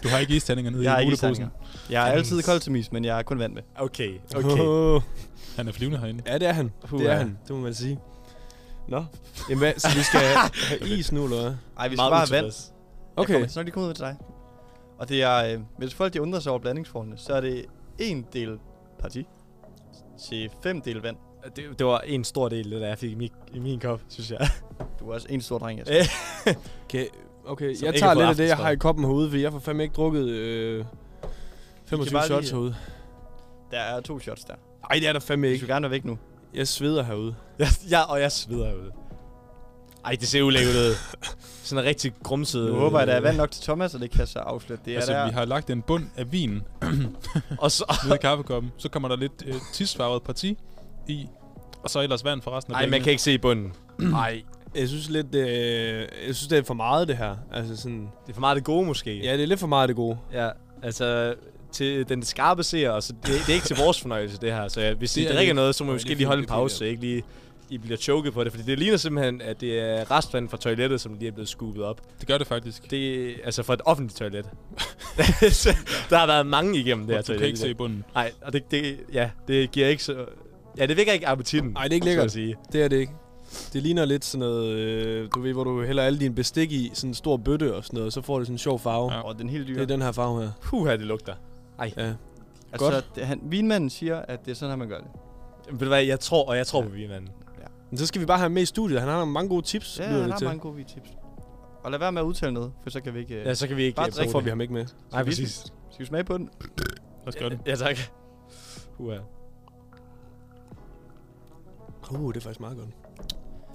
E: Du har ikke isterninger nede
D: jeg har
E: i
D: ikke
E: muleposen.
D: isterninger. Jeg er
C: Fandens.
D: altid kold til mis, men jeg er kun vand med.
C: okay, okay.
F: Åh.
E: Han er flyvende herinde.
F: Ja, det er han.
C: Puh,
F: det er
C: ja.
F: han, det må man sige. Nå, Jamen, hvad, så vi skal have is nu, eller hvad?
D: Ej, vi skal
C: Meget
D: bare have vand.
C: utilfreds.
D: Okay.
F: Okay.
D: Jeg kommer nok lige komme ud til dig. Og det er, øh, hvis folk de undrer sig over blandingsformene, så er det en del parti til fem del vand.
C: Det, det var en stor del, det der jeg fik i min, i min kop, synes jeg. (laughs)
D: Du er også en stor dreng, altså.
C: Ja.
F: Okay, okay.
C: Som
F: jeg
C: ikke
F: tager
C: har fået
F: lidt af det, jeg
C: aftensmad.
F: har i koppen herude, for jeg får fandme ikke drukket øh, 25
D: bare
F: shots
D: lige-
F: herude.
D: Der er to shots der.
F: Ej, det er der fandme
D: Vi skal
F: ikke.
D: gerne være væk nu.
F: Jeg sveder herude.
C: Jeg, jeg, og jeg sveder ud. Ej, det ser ulækkert ud. Sådan en rigtig grumset.
D: Nu håber jeg, der er
C: øh.
D: vand nok til Thomas, og det kan jeg så afslutte. Det er
E: altså,
D: der.
E: vi har lagt en bund af vin
C: Og så,
E: nede i kaffekoppen. Så kommer der lidt øh, tisfarvet parti i, og så ellers vand for resten af
C: ej, man
E: bækkene.
C: kan ikke se i bunden.
F: Nej. Jeg synes lidt, øh, jeg synes, det er for meget det her. Altså sådan,
C: Det er for meget det gode, måske.
F: ja, det er lidt for meget af det gode.
C: ja altså, til den altså, skarpe seer, og så det, det, er ikke til vores fornøjelse, det her. Så ja, hvis
E: Det
C: det,
E: er
C: det ikke er
E: det.
C: noget, så må vi
E: Nej,
C: måske
E: det er
C: lige holde en
E: fint, det er fint,
C: pause, ikke lige I bliver choket på det, fordi det ligner simpelthen, at det er restvand fra toilettet, som lige er blevet scoopet op.
E: Det gør det faktisk.
C: Det er altså fra et offentligt toilet. (laughs) Så der har været mange igennem det her
E: Det du
C: toilet.
E: kan ikke se bunden.
C: Nej, og det, det, ja, det giver ikke så... Ja, det vækker ikke appetitten.
F: Nej, det er ikke
C: så
F: lækkert.
C: at sige.
F: Det er det ikke. Det ligner lidt sådan noget, øh, du ved, hvor du hælder alle dine bestik i sådan en stor bøtte og sådan noget, og så får det sådan en sjov farve.
E: Ja.
F: Ja.
D: Og den helt dyre.
F: Det er den her farve her.
C: Puh, det lugter.
F: Ja.
D: altså,
F: godt.
D: Det, han, vinmanden siger, at det er sådan, her, man gør det.
C: Ved du hvad, jeg tror, og jeg tror på vinmanden.
F: Men så skal vi bare have ham med i studiet. Han har nogle mange gode tips,
D: Ja,
F: lyder
D: han
F: det
D: har
F: til.
D: mange gode tips. Og lad være med at udtale noget, for så kan vi ikke... øh,
C: Ja, så kan vi ikke
D: Bare
C: øh,
F: Så
D: drik
C: bruge
F: får
C: det.
F: vi ham ikke med.
C: Nej,
D: vi-
C: præcis.
D: Skal vi smage på den?
E: Lad os gøre det.
C: Ja, tak. Uha.
F: Uh, det er faktisk meget godt.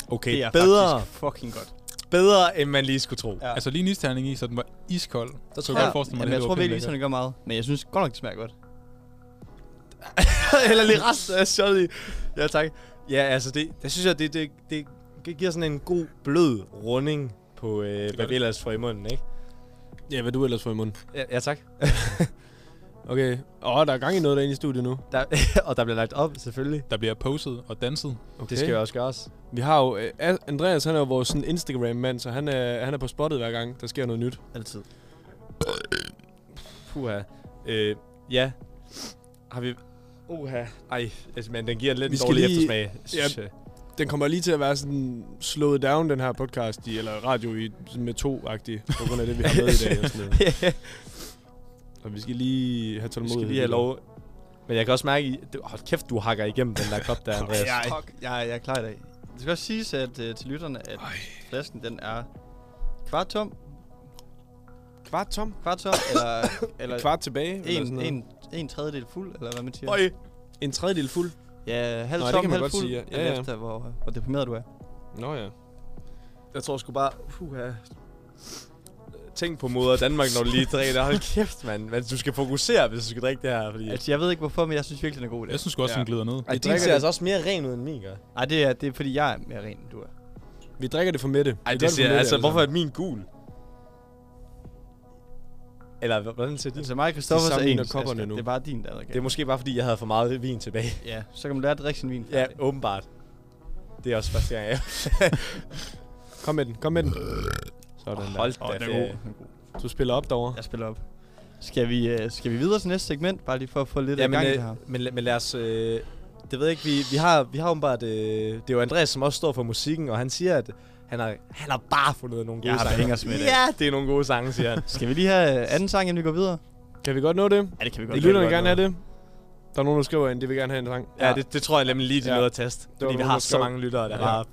C: Okay,
D: Det er
C: bedre,
D: faktisk fucking godt.
C: bedre, end man lige skulle tro.
D: Ja.
E: Altså lige en isterning i, så den var iskold. Så
D: Ja,
E: kunne jeg godt forestille mig,
D: men
E: at
D: jeg
E: det
D: tror
E: var
D: virkelig,
E: pænt
D: sådan det gør meget. Men jeg synes godt nok, det smager godt.
C: (laughs) Eller lige rest af shottet i. Ja, tak. Ja, altså, det, det synes jeg, det, det, det, det giver sådan en god, blød runding på, øh, hvad
E: det.
C: vi ellers får i munden, ikke?
F: Ja, hvad du ellers får i munden.
C: Ja, ja tak.
F: Okay. Åh, oh, der er gang i noget derinde i studiet nu.
C: Der, (laughs) og der bliver lagt op, selvfølgelig.
E: Der bliver poset og danset.
F: Okay.
C: Det skal jo også gøres.
F: Vi har jo... øh, A- Andreas, han er jo vores sådan, Instagram-mand, så han er, han er på spottet hver gang, der sker noget nyt.
D: Altid.
C: Puha. Øh, ja. Har vi... Uha. Ej, altså, men den giver lidt
F: Vi
C: en
F: skal
C: dårlig
F: lige-
C: eftersmag. synes jeg.
F: Den kommer lige til at være sådan slået down, den her podcast, i, eller radio i, sådan med to-agtig, på grund af det, vi har med i dag. Og, sådan noget. og vi skal lige have
C: Vi
F: tålmodighed.
C: (laughs) skal lige have lov. Men jeg kan også mærke, at hold kæft, du hakker igennem den der kop der, Andreas.
D: Ja, fuck, jeg, jeg er klar i dag. Det skal også siges at, øh, til lytterne, at flasken den er kvart tom,
F: Kvart tom.
D: kvart
F: (coughs)
D: tom, eller, eller
F: Kvart tilbage. eller sådan
D: en,
F: noget.
D: en, en tredjedel fuld, eller hvad man siger.
C: Øj.
F: en tredjedel fuld.
D: Ja, halv
F: Nå, det
D: tom,
F: kan man
D: halv
F: godt
D: fuld,
F: sige, ja. Ja,
D: alt
F: ja.
D: efter hvor, hvor deprimeret du er.
F: Nå ja.
C: Jeg tror sgu bare... Puha. Tænk på moder Danmark, når du lige drikker det. Hold kæft, mand. Men du skal fokusere, hvis du skal drikke det her. Fordi...
D: Altså, jeg ved ikke hvorfor, men jeg synes virkelig, den er god i dag.
E: Jeg synes også,
F: Ja.
E: den glider ned.
C: Ej, din
F: drikker
C: ser
F: det.
C: altså også mere ren ud, end min gør.
D: Nej, det er, det er fordi, jeg er mere ren, end du er.
F: Vi drikker det for Mette.
C: Ej,
F: Vi
C: det
F: gør for
C: ser...
F: Mette,
C: Altså,
F: alle
C: hvorfor
F: sammen.
C: er min gul? Eller h- hvordan ser din?
D: Altså, mig og Christoffers er
F: sammenligner
D: ens,
F: kopperne
D: Asger.
F: nu.
D: Det er bare din, der er okay.
C: Det er måske bare, fordi jeg havde for meget vin tilbage.
D: Ja, så kan man lære at drikke sin vin.
C: Ja,
D: færdig.
C: åbenbart. Det er også første gang, jeg
F: Kom med den, kom med den. Sådan der.
C: Hold
D: Åh,
C: da
D: den er god.
C: ferie.
D: Den er god.
F: Du spiller op derovre.
D: Jeg spiller op. Skal vi, øh, skal vi videre til næste segment, bare lige for at få lidt
C: Ja,
D: af gang
C: men,
D: i det her?
C: øh, men, la- men lad os... Øh, det ved jeg ikke, vi, vi har, vi har åbenbart... Øh, det er jo Andreas, som også står for musikken, og han siger, at han har, han har bare fundet nogle gode
D: Jeg har da
C: sange.
D: hængers med i dag.
C: Ja, det er nogle gode sange, siger han.
D: Skal vi lige have øh, anden sang, inden vi går videre?
F: Kan vi godt nå det?
D: Ja, det kan vi
F: Vi
D: godt.
F: lytterne
C: godt
F: gerne
C: nå.
F: have det. Der er nogen, der skriver ind, de vil gerne have en sang.
C: ja, det, det tror jeg nemlig lige, det er
F: Ja.
C: noget at teste.
F: var
C: Fordi vi
F: nogen,
C: har
F: der
C: så
F: skrev.
C: mange lyttere, der
F: Ja.
C: bare...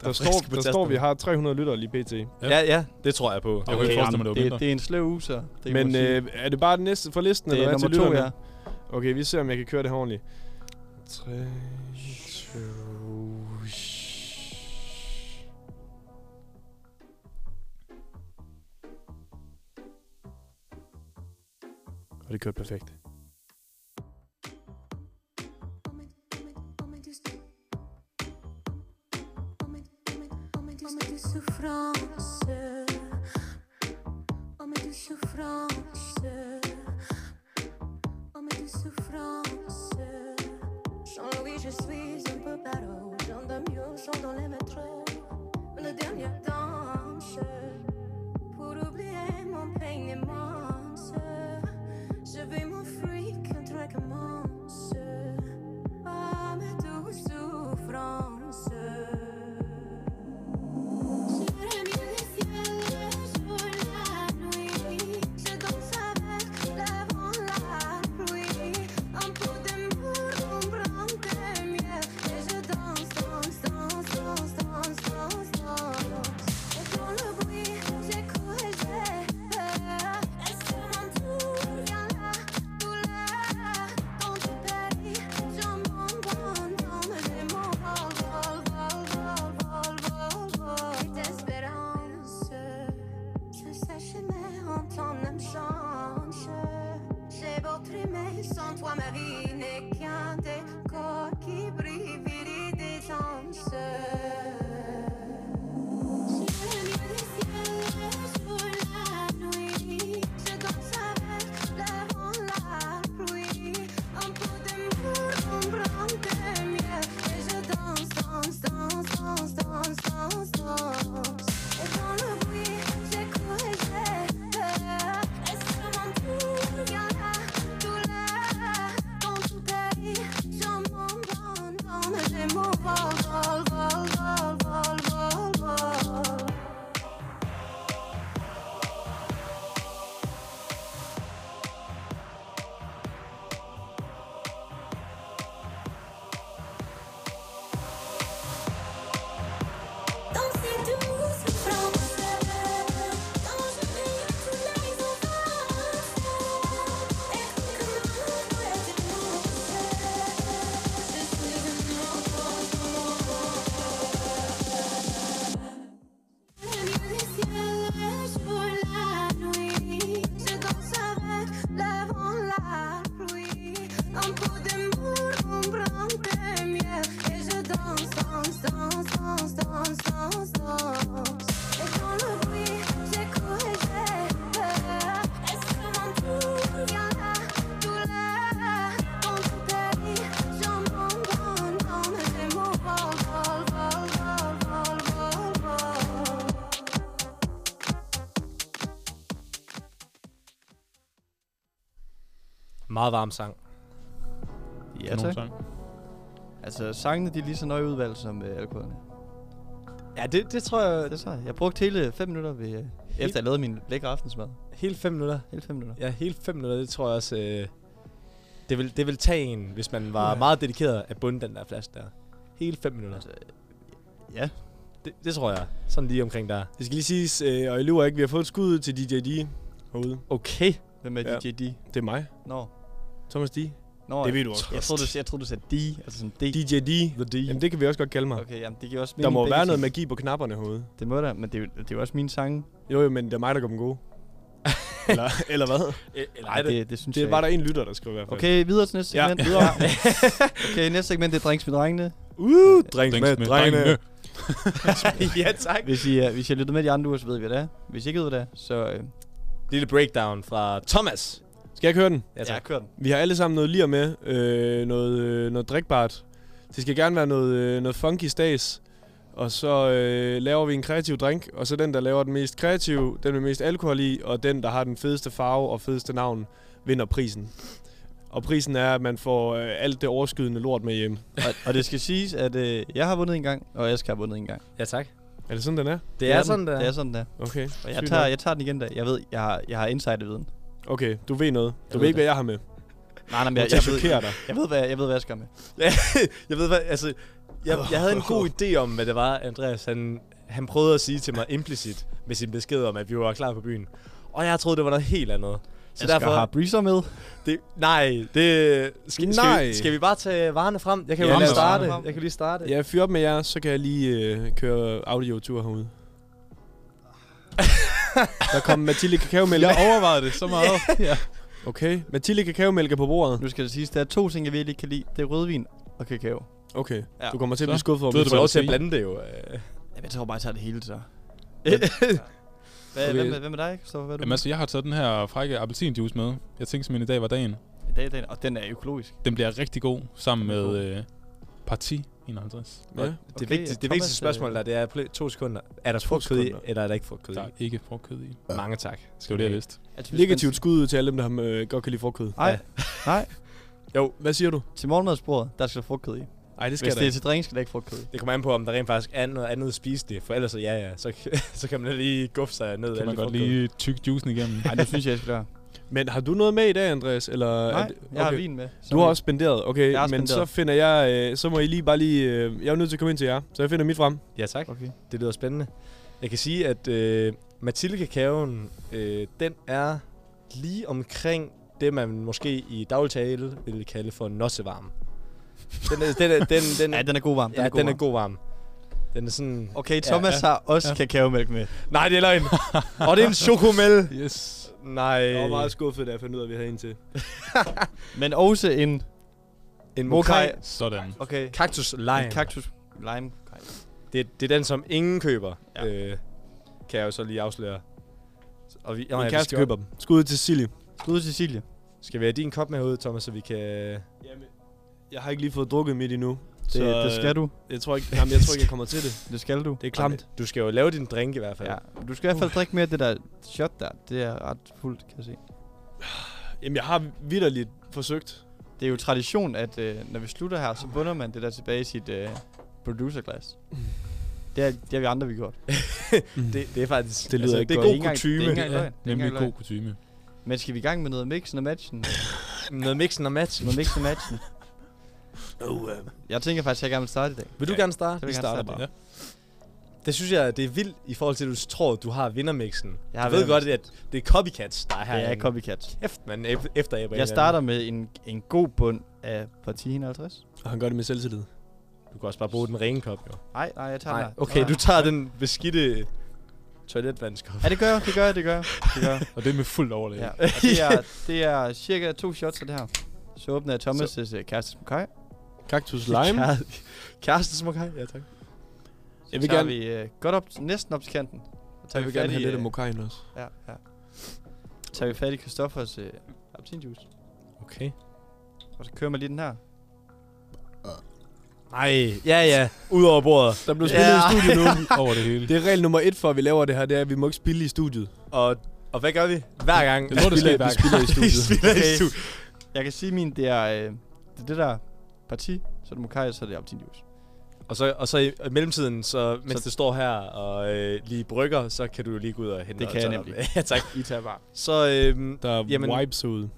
F: Der
C: frisk på
F: står, der står
C: tasten.
F: vi har 300 lyttere lige pt.
C: Ja, ja, det tror jeg på.
E: Jeg kunne ikke forestille mig, det var
D: det,
E: mindre.
D: det er en sløv uge, så det
F: Men
D: må man sige.
F: øh, er det bare den næste fra listen,
D: det
F: eller
D: er
F: hvad
D: nummer
F: til
D: to,
F: lytterne?
D: ja.
F: Okay, vi ser, om jeg kan køre det her ordentligt. 3, 2... Og det kørte perfekt.
H: Homem de sofrança, homem de sofrança, homem de sofrança. Jean-Louis, je suis un peu paro, j'en donne mieux, j'en dans les métros. Une dernière danse pour oublier mon peine immense. Je vais m'offrir. Ah, er
C: Meget varm sang.
D: Ja,
E: Kanon
D: tak.
E: sang.
D: Altså, sangene de er lige så nøje udvalgt som øh, alkoholerne.
C: Ja, det, det tror jeg...
D: Det er så. Jeg brugte hele 5 minutter, ved, øh, efter jeg lavede min lækre aftensmad.
C: Hele fem minutter.
D: Hele 5 minutter.
C: Ja, hele fem minutter, det tror jeg også... Øh, det, vil, det vil tage en, hvis man var ja. meget dedikeret at bunde den der flaske der. Hele fem minutter.
D: Altså, ja.
C: Det, det tror jeg. Sådan lige omkring der.
F: Det skal lige siges, øh, og jeg lurer ikke, vi har fået et skud til
C: Øh,
F: DJ D herude.
C: Okay.
D: Hvem er
F: Ja.
D: DJ D?
F: Det er mig,
D: Nå.
F: Thomas D.
D: Nå,
F: Det ved
D: jeg,
F: du også
D: jeg,
F: godt.
D: troede, du, jeg troede, du sagde D, altså sådan D.
F: DJ D.
C: The D.
F: Jamen, det kan vi også godt kalde mig.
D: Okay, jamen, det giver også
F: Der
D: mening
F: må
D: begge
F: være noget
D: ting.
F: magi på knapperne herude.
D: Det må der, men det er, jo, det er jo også mine sange.
F: Jo, jo, men det er mig, der går dem (laughs) gode. eller, eller hvad?
C: Eller
D: Nej, det, det synes
F: Det
D: jeg
F: var der
D: ikke.
F: en lytter, der skrev i hvert fald.
D: Okay, videre til næste
F: Ja.
D: segment. Videre. (laughs) okay, næste segment, det er Drinks med Drengene.
F: Uh, drinks,
E: Drinks med drengene.
C: ja, tak.
D: Hvis I, uh, hvis I har lyttet med de andre uger, så ved vi, hvad det er. Hvis I ikke ved, hvad det er, så... Uh,
C: (laughs) Lille breakdown fra Thomas.
F: Skal jeg køre den?
C: Ja, tak.
D: kørt den.
F: Vi har alle sammen noget lir med. Øh, noget, øh, noget drikbart. Det skal gerne være noget, øh, noget funky stags. Og så øh, laver vi en kreativ drink, og så den, der laver den mest kreative, den med mest alkohol i, og den, der har den fedeste farve og fedeste navn, vinder prisen. Og prisen er, at man får øh, alt det overskydende lort med hjem.
D: Og, og det skal siges, at uh, jeg har vundet en gang, og Ask har vundet en gang.
C: Ja, tak.
F: Er det sådan, den er?
C: Det er sådan,
D: der.
C: der.
D: Det er sådan, der.
F: Okay.
D: Og jeg
F: sygt
D: tager,
F: nok.
D: jeg tager den igen, da. Jeg ved, jeg har, jeg har insiderviden.
F: Okay, du ved noget. Du
D: Jeg
F: ved,
D: ved
F: ikke, hvad jeg har med.
D: Nej, nej, men
F: Jeg,
D: jeg,
F: jeg
D: jeg, ved,
F: chokerer dig.
D: jeg, ved, hvad, jeg ved, hvad jeg skal med.
C: Jeg ved hvad, altså... Jeg, jeg havde en (laughs) god idé om, hvad det var, Andreas, han, han prøvede at sige til mig implicit med sin besked om, at vi var klar på byen. Og jeg troede, det var noget helt andet. Så
D: Jeg derfor... skal
C: derfor...
D: have Breezer med.
C: Det, nej, det... Skal, Skal,
F: Nej.
C: vi, skal vi bare tage varerne frem? Jeg kan
E: Ja,
C: jo lige
E: lad os
C: starte.
D: varerne frem.
C: Jeg kan lige starte.
F: Ja, fyr op med jer, så kan jeg lige øh, køre audiotur herude.
D: (laughs)
F: Der kom Mathilde kakaomælk.
E: Jeg overvejede Ah, det så meget. ja.
F: Okay, Mathilde kakaomælk er på bordet.
D: Nu skal det siges, der er to ting, jeg virkelig ikke kan lide. Det er rødvin og kakao.
F: Okay,
D: Ja.
F: du kommer til at
E: Så
F: blive skuffet over
E: ved
C: Du
F: mig.
E: det
C: får
E: var
C: lov til at
E: sige.
C: blande det jo. øh.
D: Jamen, jeg tror bare, jeg tager det hele, så.
C: Ja.
D: (laughs) Hvad,
F: Okay.
D: hvem, er- hvem er dig, Kristoffer? Hvad er du?
E: Jamen altså, jeg har taget den her frække appelsinjuice med. Jeg tænkte simpelthen, i dag var dagen.
D: I dag er dagen, og den er økologisk.
E: Den bliver rigtig god sammen
D: Den er
E: med
D: god.
E: øh, Parti 51.
F: Ja.
C: Det,
D: Okay,
C: vigtigste, det
D: Thomas,
C: vigtigste spørgsmål
D: øh,
C: der, det er pl- to sekunder. Er der frugtkød i,
F: sekunder.
C: eller er der ikke frugtkød i?
E: Der er ikke frugtkød i.
C: Mange tak.
E: Det var det, jeg vidste.
D: Altså, hvis
F: Negativt
D: man-
F: skud ud til alle dem, der har, øh, godt kan lide frugtkød.
D: Nej,
C: Ja.
D: nej.
F: Jo, hvad siger du?
D: Til morgenmadsbordet, der skal der frugtkød i.
F: Nej, det
D: Hvis
F: skal
D: det er
F: der.
D: til drink, skal der ikke frugtkød i.
C: Det kommer an på, om der rent faktisk er noget andet spiseligt, for ellers så ja, ja, så, (laughs) så kan man da lige guffe sig ned.
E: Kan
C: af
E: man
C: alt
E: godt
C: frugtkød.
E: lige tygge juicen igennem.
D: Nej, det synes jeg, jeg skal gøre.
F: Men har du noget med i dag, Andreas? Eller
D: Nej,
F: er det- okay.
D: jeg har vin med.
F: Du har også spenderet, okay,
D: Jeg har
F: men så
D: spenderet.
F: finder jeg, øh, så må I lige bare lige, øh, jeg er jo nødt til at komme ind til jer, så jeg finder mit frem.
C: Ja, tak.
D: Okay.
C: Det lyder spændende. Jeg kan sige, at øh, Mathilde Kakaoen, øh, den er lige omkring det, man måske i dagligtale ville kalde for nossevarm. Den er, den er, den, den,
D: Ja, den er god varm.
C: ja, den er
D: varm.
C: god varm. Den er sådan...
D: Okay, Thomas
C: Ja,
D: har også kakaomælk med.
C: Nej, det er løgn. Og det er en chokomel.
E: (laughs) Yes.
C: Nej.
F: Jeg var meget skuffet, da jeg fandt ud af, at vi havde en til.
D: Men også en
C: En
D: mokai.
C: mokai.
E: Sådan.
D: Okay.
C: Cactus lime.
D: En kaktus. Lime.
C: det, det er den, som ingen køber.
D: Ja.
C: Ja. Øh, kan jeg jo så lige afsløre. Og vi, nå, ja,
F: Min
C: vi
F: kæreste
C: skal,
F: køber dem. Skud til Silje.
D: Skud til Cecilie.
C: Skal vi have din kop med herude, Thomas, så vi kan...
F: Jamen, jeg har ikke lige fået drukket mit endnu.
D: Det, så, det skal du.
F: Jeg tror ikke, jamen, jeg tror ikke, jeg kommer til det.
D: Det skal du.
F: (laughs) Det er klamt.
C: Du skal jo lave din drink i hvert fald.
D: Ja. Du skal i hvert fald drikke mere af det der shot der. Det er ret fuldt, kan jeg se.
F: Jamen, jeg har vidderligt forsøgt.
D: Det er jo tradition, at øh, når vi slutter her, så bunder man det der tilbage i sit øh, producerglas. Det, er, det har vi andre, vi gjort.
C: Det, det er faktisk... altså,
F: Det lyder ikke
C: det er
F: godt.
C: god kutume.
D: Det er ikke engang
E: Ja,
D: løgn. Det er ikke
E: nemlig
D: engang
E: god
D: løgn.
E: kutume.
D: Men skal vi i gang med noget mixen og matchen?
C: Noget mixen og matchen.
D: Noget mixen og matchen? Jeg tænker faktisk, at jeg gerne vil starte i dag.
C: Vil du gerne starte?
D: vil jeg gerne starte.
E: Ja.
C: Det synes jeg, det er vildt i forhold til, at du tror, du har vindermixen.
D: Jeg har
C: du ved godt,
D: vindermixen.
C: at det er copycats, der er her.
D: Ja, jeg er copycat.
C: Kæft, man ef- efter jeg
D: Jeg starter med en, en god bund af parti 51.
F: Og han gør det med selvtillid.
C: Du kan også bare bruge den rene kop, jo.
D: Nej, nej, jeg tager den
C: Nej,
D: her.
C: okay, du tager den beskidte toiletvandskop.
D: Ja, det gør jeg, det gør jeg, det gør jeg. Det gør jeg.
E: Og det er med fuldt overlæg.
D: Ja. Og Det, er, det er cirka to shots af det her. Så åbner jeg Thomas' øh, kæreste Mokai.
F: Cactus lime.
C: Kæresten smokai? Ja, tak.
D: Så
F: Jeg vil
D: tager
F: gerne-
D: vi øh, godt op, næsten op til kanten. Så
F: Jeg vil gerne have lidt af
D: øh,
F: mokajen også.
D: Ja, ja. Så tager vi fat i Christoffers øh, absintjuice.
C: Okay.
D: Og så kører man lige den her.
C: Nej, ja, ja. Udover bordet.
F: Der blev spillet (laughs) i studiet nu.
E: Over det hele.
F: Det er regel nummer et for, at vi laver det her, det er, at vi må ikke spille i studiet.
C: Og, og hvad gør vi? Hver gang.
E: Jeg tror, det
F: spiller,
E: sker hver
F: vi spiller i
C: Vi
F: studiet.
C: spiller i
D: Okay.
C: stu-
D: Jeg kan sige min, det er øh, det, er det der parti, så er det Mokai, og så er det Optin Juice.
C: (laughs) Og så, og så i, i mellemtiden, så, mens
D: Så-
C: så... det står her og øh, lige brygger, så kan du jo lige gå ud og hente
D: Det
C: og
D: kan jeg
C: tage
D: nemlig.
C: op. (laughs) ja, tak.
D: I tager bare.
C: Så øhm,
F: Der er
C: Jamen-
F: Jamen. wipes ud.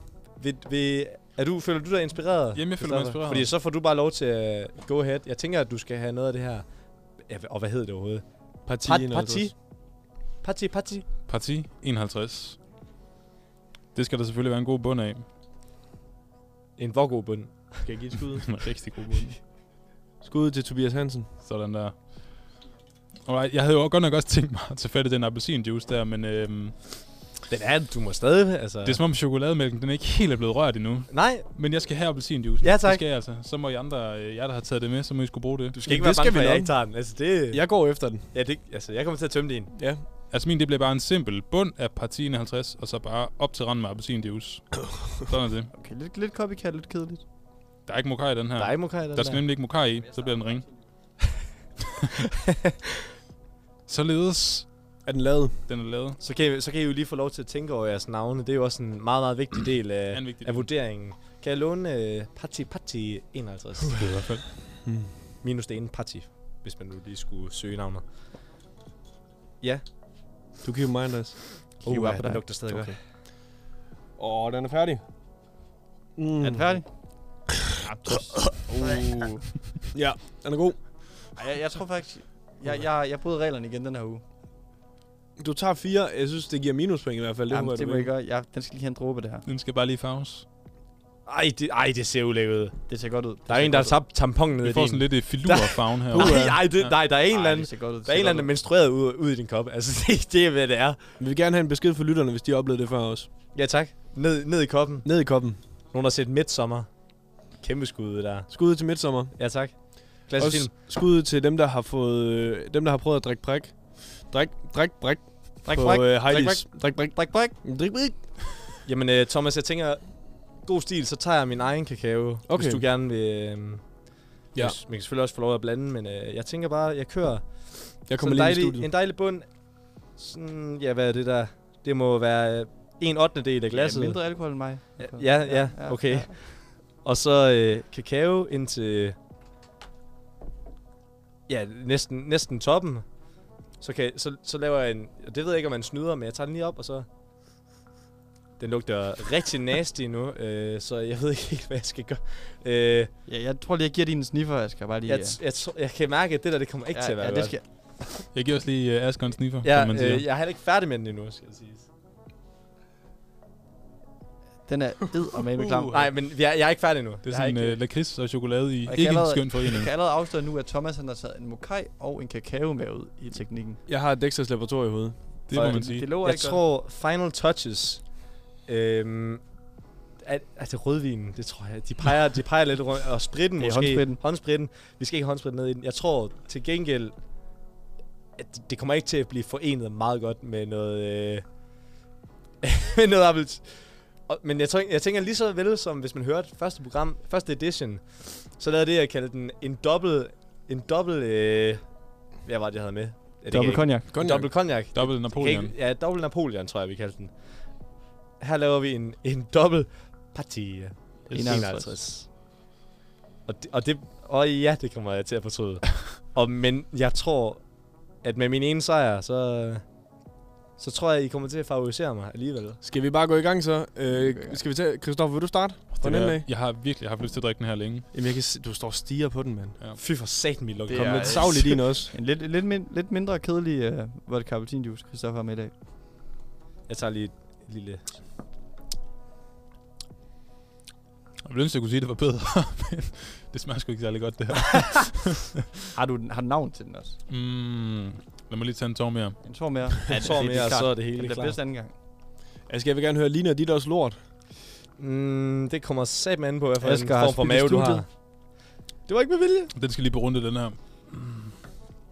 C: vil, vil, er du, føler du dig inspireret?
E: Jamen, jeg føler mig
C: Christoffer?
E: inspireret.
C: Fordi så får du bare lov til at go ahead. Jeg tænker, at du skal have noget af det her. Ja, og hvad hedder det overhovedet?
F: Parti.
C: Par-
F: 51.
C: parti. Parti, parti.
E: Parti 51. Det skal der selvfølgelig være en god bund af.
C: En hvor god bund.
F: Skal jeg give et (laughs) skud?
E: En rigtig god bund.
F: Skud til Tobias Hansen.
E: Sådan der. Alright, jeg havde jo godt nok også tænkt mig at tage fat i den appelsinjuice der, men øhm,
C: Den er, du må stadig, altså.
E: det er som om chokolademælken, den er ikke helt er blevet rørt endnu.
C: Nej,
E: Men jeg skal have appelsinjuice.
C: Ja, tak.
E: Det skal jeg altså. Så må I andre, øh, jer der har taget det med, så må I skulle bruge det.
C: du skal
F: Jamen,
C: ikke være
F: det skal
C: bange for,
F: vi
C: at jeg
F: nok.
C: ikke tager den. Altså, det, ja.
F: Jeg går efter den.
C: Ja, det, altså, jeg kommer til at tømme din.
F: Ja.
E: Altså min, det bliver bare en simpel bund af parti 51, og så bare op til randen med appelsinjuice. Sådan er det.
D: Okay, lidt, lidt copycat, lidt kedeligt.
E: Der er ikke mokai i den her.
C: Ja. Der er ikke mokai, den
E: Der skal nemlig ikke mokar i, så bliver den ring. Således
F: Er den lavet?
E: den er lavet.
C: Så kan, I- så kan I jo lige få lov til at tænke over jeres navne. Det er jo også en meget, meget
E: (clears throat)
C: vigtig del af,
E: en vigtig
C: af
E: del.
C: vurderingen. Kan jeg låne øh, Parti Parti 51?
E: Det er i hvert fald.
D: Hmm.
C: Minus det ene Parti, hvis man nu lige skulle søge navne.
F: Du giver mig, Andreas.
C: Oh,
D: Hiv op
C: ja,
D: på
C: den
D: dig.
C: lugter stadig okay.
D: Okay.
C: godt.
F: Åh, den er færdig. Mm.
D: Er den færdig? uh.
F: Ja, den er god.
D: Ej, jeg, jeg tror faktisk... Jeg, jeg, jeg bryder reglerne igen den her uge.
F: Du tager fire. Jeg synes, det giver minuspoint i hvert fald.
D: Det, Jamen,
F: håber jeg,
D: det
F: du
D: må jeg
F: ikke.
D: gøre. Jeg, den skal lige have en dråbe, det her.
E: Den skal bare lige farves.
C: Ej, det, ej, det ser ulækkert ud.
D: Det ser godt ud. Det
C: Der er
D: ser
C: en, der har
D: godt ud.
C: tabt tampon nede
E: Vi
C: i
E: får
C: din.
E: sådan lidt øh, filur-farven
C: (laughs)
E: her.
C: Nej, ej, det, nej, der er en eller
D: Ej,
C: anden,
D: det ser godt ud. det
C: der er
D: ser
C: en eller
D: godt
C: anden
D: ud.
C: menstrueret ud, ud i din kop. Altså, (laughs) det, det er, hvad det er.
F: Vi vil gerne have en besked fra lytterne, hvis de oplevede det før os.
C: Ja, tak. Ned, ned i koppen.
F: Ned i koppen.
C: Nogen har set Midtsommer. Kæmpe skud der.
F: Skud til midtsommer.
C: Ja, tak. Klassisk film.
F: Også skud til dem, der har fået, øh, dem, der har prøvet at drikke prik. Drik, drik, brik.
D: Drik,
F: på
D: brik,
F: øh,
D: drik,
F: Heidi's. Drik, brik.
D: Bræk, bræk.
F: Drik, brik.
C: Jamen, øh, Thomas, jeg tænker, god stil, så tager jeg min egen kakao, okay.
F: Okay.
C: hvis du gerne vil... Øh, ja.
F: Ja.
C: Man kan selvfølgelig også få lov at blande, men øh, jeg tænker bare, jeg kører
F: Jeg
C: sådan
F: kommer
C: en
F: lige ind i
C: dejlig,
F: studiet.
C: en dejlig bund. Sådan, ja, hvad er det der? Det må være øh, en ottende del af
D: Glasset.
C: glasset.
D: mindre alkohol end mig.
C: Ja, ja, okay. Og så øh, kakao ind til... Ja, næsten, næsten toppen. Så, kan, så, så laver jeg en... og Det ved jeg ikke, om man snyder, men jeg tager den lige op, og så... Den lugter rigtig nasty nu, øh, så jeg ved ikke helt, hvad jeg skal gøre. Øh,
D: Ja, jeg tror lige, jeg giver din en sniffer, jeg skal bare lige... øh.
C: jeg, t- jeg, tror- jeg kan mærke, at det der, det kommer ikke
D: ja,
C: til at være
D: ja, det skal,
E: Jeg giver også lige uh, Asger en sniffer, ja, som man
C: godt.
E: siger.
C: Ja,
E: Øh,
C: øh, jeg er heller ikke færdig med den endnu, skal jeg sige.
D: Den er ed og med klam.
C: Nej, men jeg, jeg er ikke færdig endnu.
E: Det er
C: Jeg
E: sådan
C: ikke,
E: uh, lakrids og chokolade i
D: Jeg kan
E: ikke en
D: allerede-
E: skøn
C: (laughs)
D: Jeg
E: forening.
D: kan allerede afsløre nu, at Thomas han har taget en mokai og en kakao med ud i teknikken.
F: Jeg har Dexters laboratorium i hovedet.
E: Det må
C: Og
E: man
C: det-
E: sige.
D: Det lover
C: Jeg
D: ikke
C: tror, final touches... Øhm, er, er det rødvinen? Det tror jeg. De peger, de peger lidt rundt. Og spritten
D: Det er
C: måske.
D: håndspritten.
C: håndspritten. Vi skal ikke have håndspritten ned i den. Jeg tror til gengæld, at det kommer ikke til at blive forenet meget godt med noget... Øh, (laughs) med noget appelt. Og- Men jeg, tænker, jeg tænker lige så vel, som hvis man hørte første program, første edition, så lavede det, jeg kaldte den en dobbelt... En dobbelt... Øh, hvad var det, jeg havde med? Ja,
D: godt.
C: det kan jeg
D: Dobbelt
C: ikke-
D: cognac.
C: en Dobbelt cognac.
E: Dobbelt Napoleon.
C: Ikke, ja, dobbelt Napoleon, tror jeg, vi kaldte den. Her laver vi en, en dobbelt parti.
D: 51.
C: Og det, og det, og ja, det kommer jeg til at fortryde. og, men jeg tror, at med min ene sejr, så, så tror jeg, I kommer til at favorisere mig alligevel.
F: Skal vi bare gå i gang så?
D: i
F: Øh,
D: gang.
F: skal vi tage... Christoffer, vil du starte?
E: Det
F: Hvordan
E: var-
F: af?
E: Jeg har virkelig haft lyst til at drikke den her længe.
F: Jamen, jeg kan se, du står og stiger på den, mand.
C: Fy for satan, mit lukker.
D: Det
F: Kom
D: er-
F: lidt savligt i den også.
D: En lidt, lidt, min, lidt mindre kedelig øh, vodka appelsinjuice, Christoffer har med i dag.
C: Jeg tager lige et lille...
E: Jeg ville ønske, jeg kunne sige, at det var bedre, (laughs) men det smager sgu ikke særlig godt, det her.
D: Har du den, har du navn til den også?
E: Mm, lad mig lige tage en tår mere.
D: En tår mere.
C: Ja,
D: det-
C: det, tror
D: det er
C: mere, og
D: klart.
C: så er det
D: Det
C: hele
D: bliver
C: klar.
D: bedst anden gang.
F: Altså, jeg vil gerne høre, ligner dit også lort?
C: Mm, det kommer satme an på, hvad for en
D: Asger har
C: form for
D: spildt
C: mave du
D: studiet.
C: har. Det var ikke med vilje.
E: Den skal lige berunde, den her.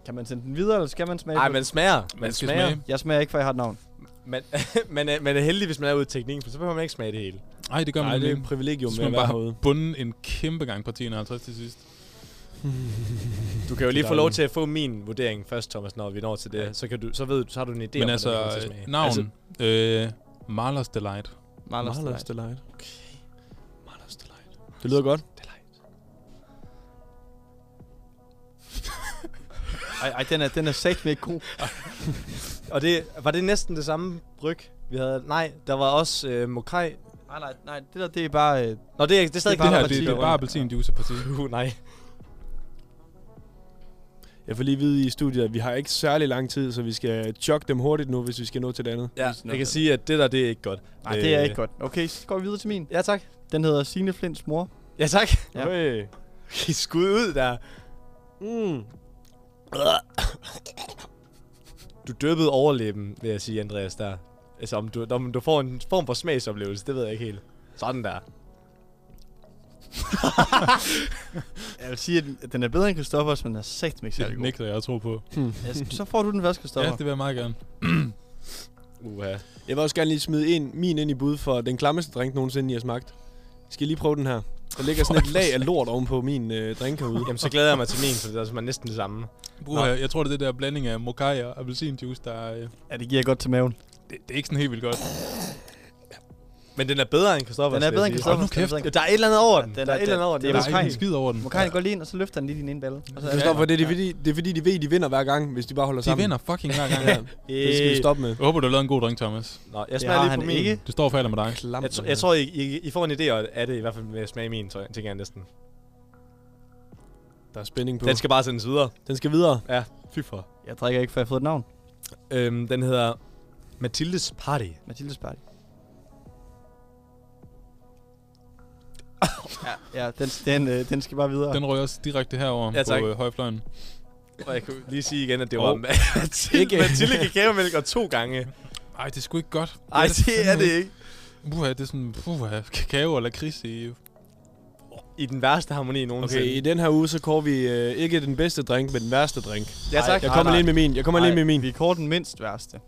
D: Kan man sende den videre, eller skal man smage
C: Nej,
D: på den?
C: man smager. Man
E: Den skal
C: smager.
E: smage.
D: Jeg smager ikke, for jeg har et navn.
C: Man, (laughs) man, er, man er heldig, hvis man er ude i teknikken, for så behøver man ikke smage det hele.
E: Nej, det gør man
F: Nej, det er
E: ikke.
F: et privilegium
E: Så
F: med
E: skal
F: at
E: man
F: være
E: bare
F: herude.
E: have bundet en kæmpe gang på 1050 til sidst.
C: Du kan jo lige få
F: dejligt.
C: lov til at få min vurdering først, Thomas, når vi når til det. Så, kan du, så, ved, du- så har du en idé
E: Men
C: om,
E: altså,
C: hvordan det kommer til at smage.
E: navn.
C: Altså,
E: Øh, Marlers Delight.
D: Marlers
F: Marlers
D: Delight.
F: Delight. Det lyder godt.
D: Ej, ej den er, den er sagt med god.
C: Og det, var det næsten det samme bryg, vi havde? Nej, der var også øh, Mokai.
D: Nej, nej, nej. Det der, det er bare... Øh,
C: Nå, det er, det
F: (laughs)
C: er stadig
D: Det er
E: Det her,
D: appelsin
E: det, det er
D: og
E: bare
D: rød.
E: appelsinjuice og parti.
C: Uh, nej.
F: Jeg får lige at vide i studiet, at vi har ikke særlig lang tid, så vi skal chokke dem hurtigt nu, hvis vi skal nå til det andet.
C: Ja,
D: sådan
C: jeg
D: noget.
C: kan sige, at det der, det er ikke godt. Øh,
D: nej, det er ikke godt. Okay, så går vi videre til min.
C: Ja, tak.
D: Den hedder Signe Flints mor.
C: Ja, tak. (laughs)
D: Ja.
F: Hey.
C: I skud ud der. (coughs)
F: Mm.
C: Du døbede overlæben, vil jeg sige, Andreas, der. Altså, om du, om du får en form for smagsoplevelse, det ved jeg ikke helt. Sådan der.
D: Jeg vil sige, at den er bedre end Christoffers, men den er sagt ikke særlig
E: Det
D: god.
E: nægter jeg at tro på.
D: Altså, så får du den første,
E: Ja,
D: Christoffer.
E: det vil jeg meget gerne.
C: Uha.
F: Jeg vil også gerne lige smide en, min ind i bud for den klammeste drink nogensinde, I har smagt. Skal I lige prøve den her? Der ligger sådan et lag af lort ovenpå min øh, drink herude.
C: Jamen, så glæder jeg mig til min, for det er altså næsten det samme.
E: Bruger, jeg, jeg tror, det er det der blanding af mokai og appelsinjuice, der er... øh,
D: Ja, det giver jeg godt til maven.
E: Det, det er ikke sådan helt vildt godt.
C: Men den er bedre end Christoffer.
D: Den er bedre end Christoffer.
E: Hold nu kæft.
C: Der er et eller andet over den.
D: Ja, den
C: der er
D: er-
C: et eller andet over den.
D: det er
E: Der
C: Den
E: er ikke en
D: mokai.
E: skid over den.
D: Må Karin gå lige ind, og så løfter han lige din ene balle. Og så er det-
F: Christoffer, det er, det, fordi, det er fordi, de ved, de vinder hver gang, hvis de bare holder
E: De
F: sammen.
E: vinder fucking hver gang.
F: Det skal vi stoppe med.
E: Jeg håber, du har lavet en god drink, Thomas.
C: Øh, Nå, jeg
D: Det
C: smager
D: har
C: lige
D: han
C: på min.
D: ikke.
E: Det står og falder med dig.
F: Klam,
C: Jeg, tr- jeg tror, I, I, I får en idé af det, i hvert fald med at smage min, tror jeg, tænker jeg næsten.
F: Der er spænding på.
C: Den skal bare sendes videre.
F: den skal videre.
C: Ja, fy for.
D: Jeg drikker ikke, før jeg har fået et navn.
C: Øhm, den hedder Mathildes Party.
D: Mathildes Party. ja, ja den, den, øh, den skal bare videre.
E: Den rører os direkte herover
C: Ja, tak.
E: på øh, højfløjen.
C: Og jeg kan lige sige igen, at det
E: Åh.
C: var (laughs) Mathilde,
F: Ikke-
C: Mathilde kakaomælk og to gange.
E: Ej, det er sgu ikke godt.
C: Nej, det er det ikke.
E: Uha, det er sådan, uha, kakao eller kris i...
C: I den værste harmoni nogensinde.
F: Okay, i den her uge, så kår vi øh, ikke den bedste drink, men den værste drink.
C: Ja, tak.
F: Jeg kommer
D: nej.
F: lige med min. Jeg kommer lige med min.
D: Vi kår den mindst værste.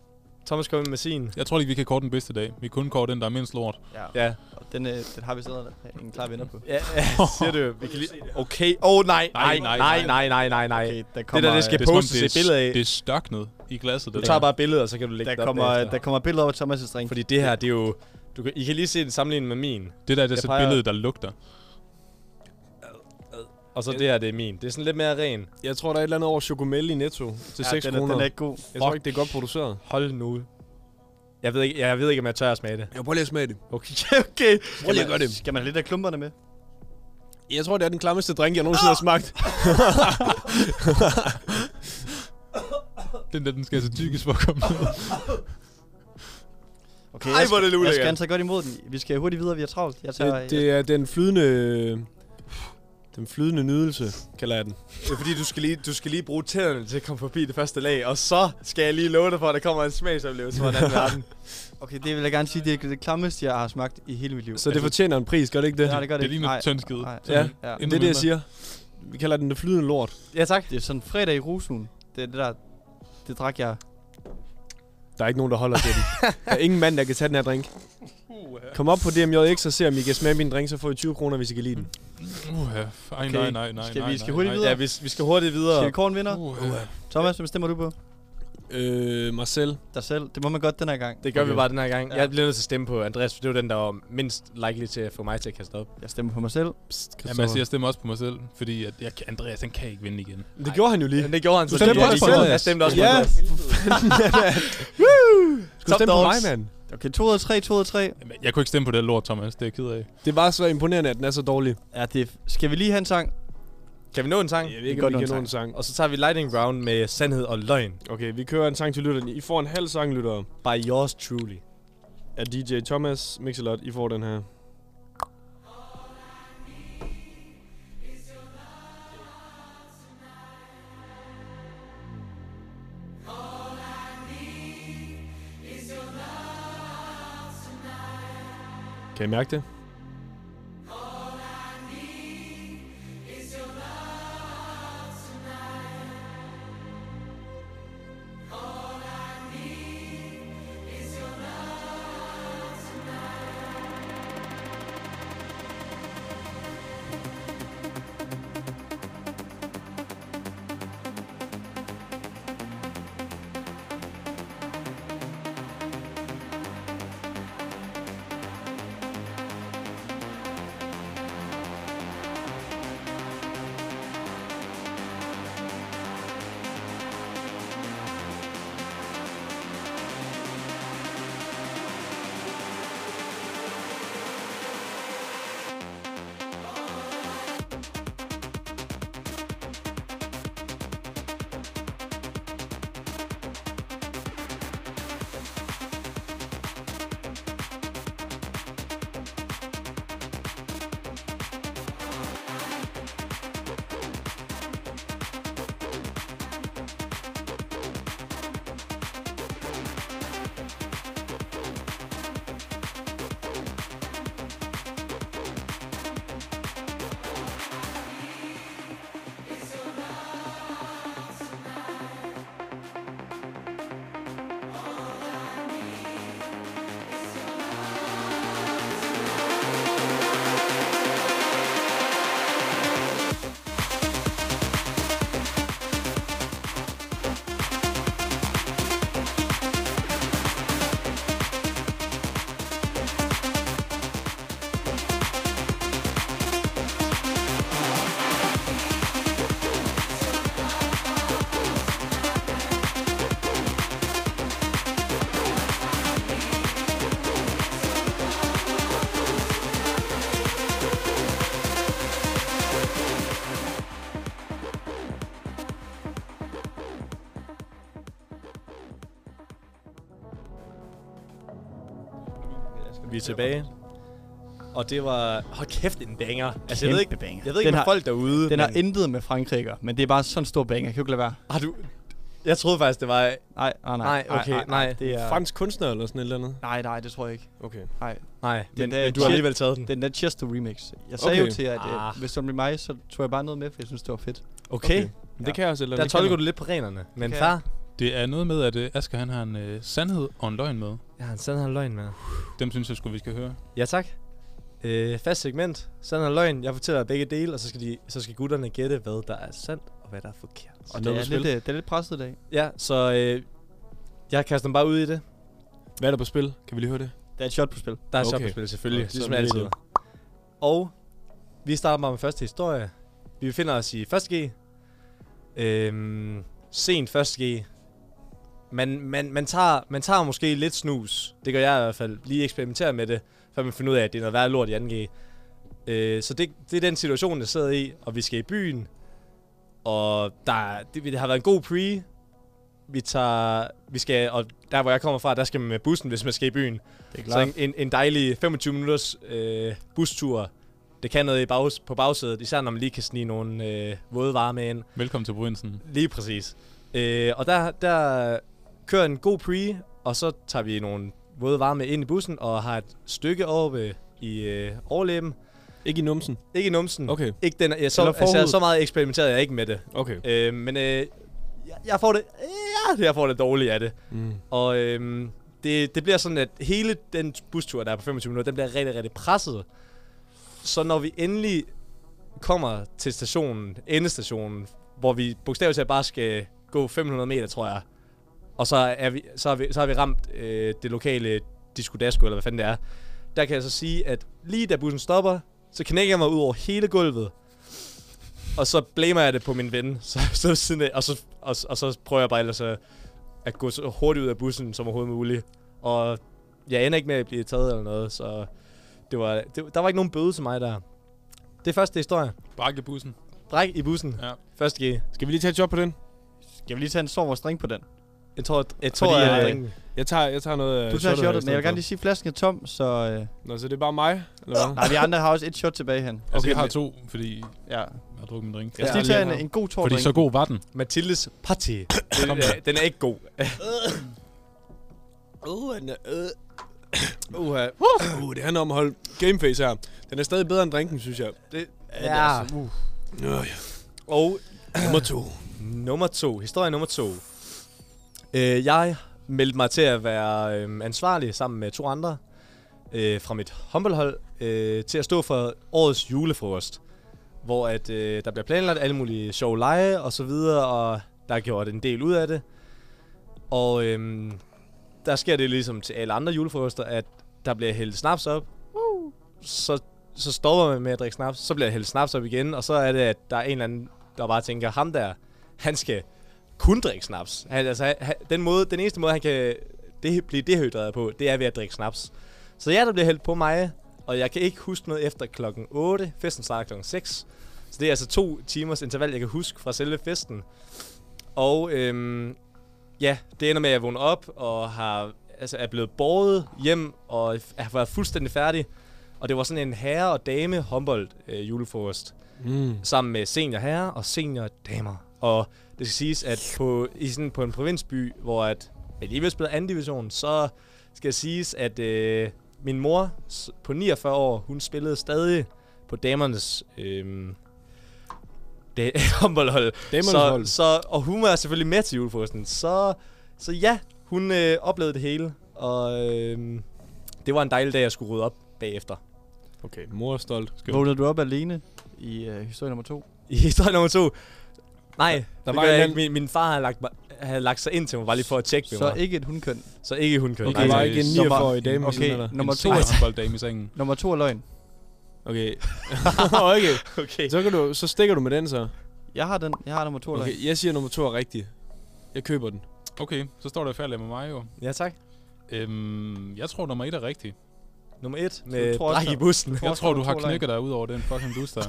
C: Thomas kommer med sin.
E: Jeg tror ikke, vi kan kåre den bedste dag. Vi kan kun kåre den, der er mindst lort.
D: Ja. ja.
C: Ja.
D: Og den, øh, den har vi siddet en klar vinder på. (laughs)
C: Ja, ja siger du. Vi kan lige... Okay. (laughs) Åh, oh, nej. Nej, nej, nej, nej, nej, nej, nej.
D: Okay, der
C: det
D: kommer, øh,
C: der, det skal
E: er som om,
C: postes
E: det er
C: et billede af.
E: Det er størknet i glasset.
C: Du
E: det
C: tager
E: der.
C: bare billeder, og så kan du lægge
D: der,
C: det op
D: kommer, øh,
C: bagefter.
D: der kommer billeder over Thomas' drink.
C: Fordi det her, det er jo... Du kan, I kan lige se det sammenlignet med min.
E: Det der det er
C: Jeg
E: så et
C: peger-
E: billede, der lugter.
C: Og så det her, det er min. Det er sådan lidt mere ren.
F: Jeg tror, der er et eller andet over chocomel i Netto til 6
D: den, er,
F: kroner.
D: den er ikke god.
F: Jeg tror ikke, det er godt produceret.
C: Hold nu. Jeg ved ikke, jeg ved ikke om jeg tør at smage det.
F: Jeg prøver lige at smage det.
C: Okay, (laughs) okay.
D: Skal man, skal man have lidt af klumperne med?
F: Jeg tror, det er den klammeste drink, jeg nogensinde har
D: Ah!
F: smagt.
E: Den der, den skal altså tykkes for at komme ned.
D: Okay,
C: Ej,
D: jeg
C: hvor er
D: skal,
C: det
D: jeg skal
C: ulækkert.
D: gerne tage godt imod den. Vi skal hurtigt videre, vi er travlt. Jeg tager,
F: Det, det er den flydende... Den flydende nydelse, kalder jeg den.
C: Det er fordi, du skal, lige, du skal lige bruge tænderne til at komme forbi det første lag, og så skal jeg lige love dig for, at der kommer en smagsoplevelse fra den anden verden.
D: Okay, det vil jeg gerne sige, det er det klammeste, jeg har smagt i hele mit
F: (laughs)
D: liv.
F: Så det fortjener en pris, gør det ikke det?
D: Nej, det gør det
E: Det ligner
D: Nej.
E: tyndskid.
D: Nej.
F: Ja,
D: Ja.
F: det er det, jeg siger. Vi kalder den det flydende lort.
C: Ja, tak.
D: Det er sådan fredag i rusen. Det er det der, det drak jeg.
F: Der er ikke nogen, der holder til
D: (laughs)
F: den. Der er ingen mand, der kan tage den her drink. Kom op på DMJX og se, om I kan smage min drink, så får I 20 kroner, hvis I kan lide den.
E: Uha, ej,
D: Okay,
E: nej, nej, nej,
D: skal vi-
E: nej,
D: skal
E: nej,
D: hurtigt
E: nej.
D: videre?
C: Ja, vi, vi skal Uh. hurtigt
D: Skal vi
C: videre.
D: kåre en vinder?
E: Uha.
D: Thomas, hvem stemmer du på?
F: Øh, Marcel.
D: Dig selv. Det må man godt den her gang.
C: Det gør okay. vi
F: Okay.
C: bare den her gang.
D: Ja.
C: Jeg bliver nødt til at stemme på Andreas, for det var den, der var mindst likely til at få mig til at kaste op.
D: Jeg stemmer på mig selv.
F: Psst,
E: Jamen, jeg siger, jeg stemmer også på mig selv, fordi at jeg, kan- Andreas, han kan ikke vinde igen.
F: Det gjorde han jo lige.
C: Men det gjorde han
F: Du stemte
C: lige-
F: også på
C: lige-
F: Andreas.
C: Jeg stemte også på
F: Ja.
C: Andreas.
F: Du stemte på
C: dogs.
F: mig, mand.
D: Okay, 2 ud af 3, 2 ud af 3.
E: Jamen, Jeg kunne ikke stemme på det her lort, Thomas. Det er jeg ked af.
F: Det var så imponerende, at den er så dårlig.
D: Ja, det er- Skal vi lige have en sang?
C: Kan vi nå en sang?
F: Jeg ved ikke,
D: Godt
F: om vi kan
D: nok,
F: nå
D: tak.
F: en sang.
C: Og så tager vi lightning round med sandhed og løgn.
F: Okay, vi kører en sang til lytterne. I får en halv sang, lyttere.
C: By yours truly.
F: Af DJ Thomas Mixelot. I får den her. Kan I mærke det?
H: I
C: Vi er tilbage. Og det var... Hold kæft, en banger. Altså, jeg ved ikke,
D: banger.
C: jeg ved ikke
D: den
C: med
D: har,
C: folk derude.
D: den har
C: men-
D: intet med Frankrig at gøre, men det er bare sådan en stor banger. Jeg kan jo ikke lade være.
C: Har du... Jeg troede faktisk, det var...
D: Nej, nej, nej.
C: Nej, okay, nej.
D: Det er,
F: Fransk kunstner eller sådan et eller andet?
D: nej, nej, det tror jeg ikke.
F: Okay.
D: Nej,
C: Nej, men,
D: der
C: men du har
D: shit-
C: alligevel taget den.
D: den der Chester remix. Jeg sagde
F: Okay.
D: jo til jer, at
C: Ah.
D: ah. hvis det blev mig, så tog jeg bare noget med, for jeg synes, det var fedt.
C: Okay.
F: Men
D: Ja.
F: det kan jeg også et eller
C: Der
F: andet. Det
C: tolker
F: kan
C: du lidt på renerne. Men
D: kan
C: far...
E: Det er noget med, at øh, Asger han har en øh, sandhed og en løgn med.
C: Jeg har en sand her løgn med.
E: Dem synes jeg sgu, vi skal høre.
C: Ja, tak. Øh, fast segment. Sand her løgn. Jeg fortæller begge dele, og så skal, de, så skal gutterne gætte, hvad der er sandt og hvad der er forkert.
D: Og
F: noget
D: det er,
F: på spil.
D: lidt, øh, det er lidt presset i dag.
C: Ja, så øh, jeg kaster dem bare ud i det.
F: man. Hvad er der på spil? Kan vi lige høre det?
D: Der er et shot på spil.
C: Der er okay.
F: Okay.
C: shopperspil selvfølgelig,
F: Sådan
C: ligesom
F: er det
C: altid.
F: jo.
C: Og vi starter bare med første historie. Vi befinder os i 1.G. Øhm, sent 1.G. Man, man, man, tager, man tager måske lidt snus. Det gør jeg i hvert fald. Lige eksperimenterer med det, før man finder ud af, at det er noget værre lort i 2G. Øh, så det, det er den situation, jeg sidder i, og vi skal i byen. Og der, er- det, det har været en god pre. Vi tager, vi skal, og der hvor jeg kommer fra, der skal man med bussen, hvis man skal i byen.
D: Det er
C: Så en, en, en dejlig 25 minutters øh, bustur. Det kan noget i bags, på bagsædet, især når man lige kan snige nogle øh, våde varer med ind.
E: Velkommen til provinsen.
C: Lige præcis. Øh, og der, der kører en god pre, og så tager vi nogle våde varer med ind i bussen, og har et stykke oppe i øh, overlæben.
F: Ikke i numsen.
C: Ikke i numsen.
F: Okay.
C: Ikke den, jeg, så,
F: Eller
C: altså, jeg,
F: forhuden.
C: så meget eksperimenterede jeg ikke med det.
F: Okay.
C: Øh, men øh, jeg, jeg får det... Ja, jeg får det dårligt af det.
F: Mm.
C: Og øhm, det, det bliver sådan, at hele den bustur, der er på 25 minutter, den bliver rigtig, rigtig presset. Så når vi endelig kommer til stationen, endestationen, hvor vi bogstaveligt talt bare skal gå 500 meter, tror jeg, og så, er vi, så, har, vi, så har vi ramt øh, det lokale diskodasko, eller hvad fanden det er, der kan jeg så sige, at lige da bussen stopper, så knækker jeg mig ud over hele gulvet, og så blamer jeg det på min ven, (laughs) så, så ved siden af, og, så, og, og så prøver jeg bare ellers at, at gå så hurtigt ud af bussen som overhovedet muligt. Og jeg ender ikke med at blive taget eller noget, så det var, det, der var ikke nogen bøde til mig der. Det er første historie.
E: Bræk i bussen.
C: Bræk i bussen.
E: Ja.
C: Første G.
F: Skal vi lige tage et job på den?
D: Skal vi lige tage en stor vores drink på den?
C: Jeg tror, jeg tror,
F: Fordi,
C: jeg,
F: øh,
C: jeg, jeg,
F: Jeg tager, jeg tager noget af
D: Du tager
F: shottet her i
D: shotet, men jeg
F: stedet
D: vil gerne
F: for.
D: lige sige, at flasken er tom, så... Øh,
F: Nå, så det er bare mig? Eller hvad?
D: nej, vi andre har også et shot tilbage hen.
E: Altså, okay, jeg har to, fordi
D: Ja.
E: jeg har drukket min drink.
D: Jeg skal
C: Ja,
D: lige tage
C: lige
D: en, en god tår
E: Fordi
D: drink.
E: så god var den.
C: Mathildes
F: (coughs)
C: party. den,
E: Kom
C: er,
E: med.
C: øh, den er ikke god.
F: Uh, han er, uh. Uha.
C: øh,
F: Uh, det handler om at holde gameface her. Den er stadig bedre end drinken, synes jeg.
C: Det, altså,
D: Ja.
C: ja.
D: Uh.
F: Øh,
C: Og
F: nummer to.
C: Nummer to. Historie nummer to. Øh, jeg meldte mig til at være øh, ansvarlig sammen med to andre øh, fra mit håndboldhold øh, til at stå for årets julefrokost. Hvor at, øh, der bliver planlagt alle mulige sjove lege og så videre, og der er gjort en del ud af det. Og øh, der sker det ligesom til alle andre julefrokoster, at der bliver hældt snaps op. Så, så stopper man med at drikke snaps, så bliver der hældt snaps op igen, og så er det, at der er en eller anden, der bare tænker, ham der, han skal kun drikke snaps. Han, altså, han- han, den, måde, den eneste måde, han kan det, blive dehydreret på, det er ved at drikke snaps. Så ja, der bliver hældt på mig, og jeg kan ikke huske noget efter klokken 8. Festen starter klokken 6. Så det er altså to timers interval, jeg kan huske fra selve festen. Og øhm, ja, det ender med, at jeg vågner op og har, altså, er blevet båret hjem og f- har været fuldstændig færdig. Og det var sådan en herre- og dame håndbold øh, julefrokost
F: Mm.
C: sammen med seniorherrer og seniordamer. Og det skal siges, at på, i sådan, på en provinsby, hvor at jeg alligevel spiller anden division, så skal jeg siges, at øh, min mor s- på 49 år, hun spillede stadig på damernes øh, da- håndboldhold.
F: Damernes
C: så,
F: hold.
C: så, og hun var selvfølgelig med til julefrokosten. Så, så ja, hun øh, oplevede det hele, og øh, det var en dejlig dag, jeg skulle rydde op bagefter.
F: Okay, mor er stolt. Skønt.
D: Vågnede du op alene i øh, historie nummer to?
C: I (laughs) historie nummer to. Nej, der
F: var
C: var
F: en
C: ikke. Min, min far havde lagt, mig, havde lagt sig ind til mig, bare lige for at tjekke med
D: Så
C: mig.
D: ikke et hundkøn.
C: så ikke hun kørte.
F: Okay,
E: Nej,
F: der var
E: nej,
F: ikke en
D: så var-
F: 49-årig dame
D: okay.
F: okay. sådan der.
D: Nummer
E: en
D: to
E: sej
D: er-
E: håndbolddame i sengen.
D: Nummer to er løgn.
F: Okay. (laughs) okay.
C: okay.
F: Så, kan du, så stikker du med den så.
D: Jeg har den. Jeg har nummer to er løgn.
F: Okay, jeg siger nummer to er rigtig. Jeg køber den.
E: Okay, så står der færdig med mig jo.
C: Ja, tak.
E: Øhm, jeg tror, nummer et er rigtig.
C: Nummer et med
D: tror også,
C: bræk i
D: der-
C: bussen.
E: Jeg
D: også,
E: tror,
D: der
E: du
D: var
E: har
D: to løgn.
E: knækket dig ud over den fucking bus der.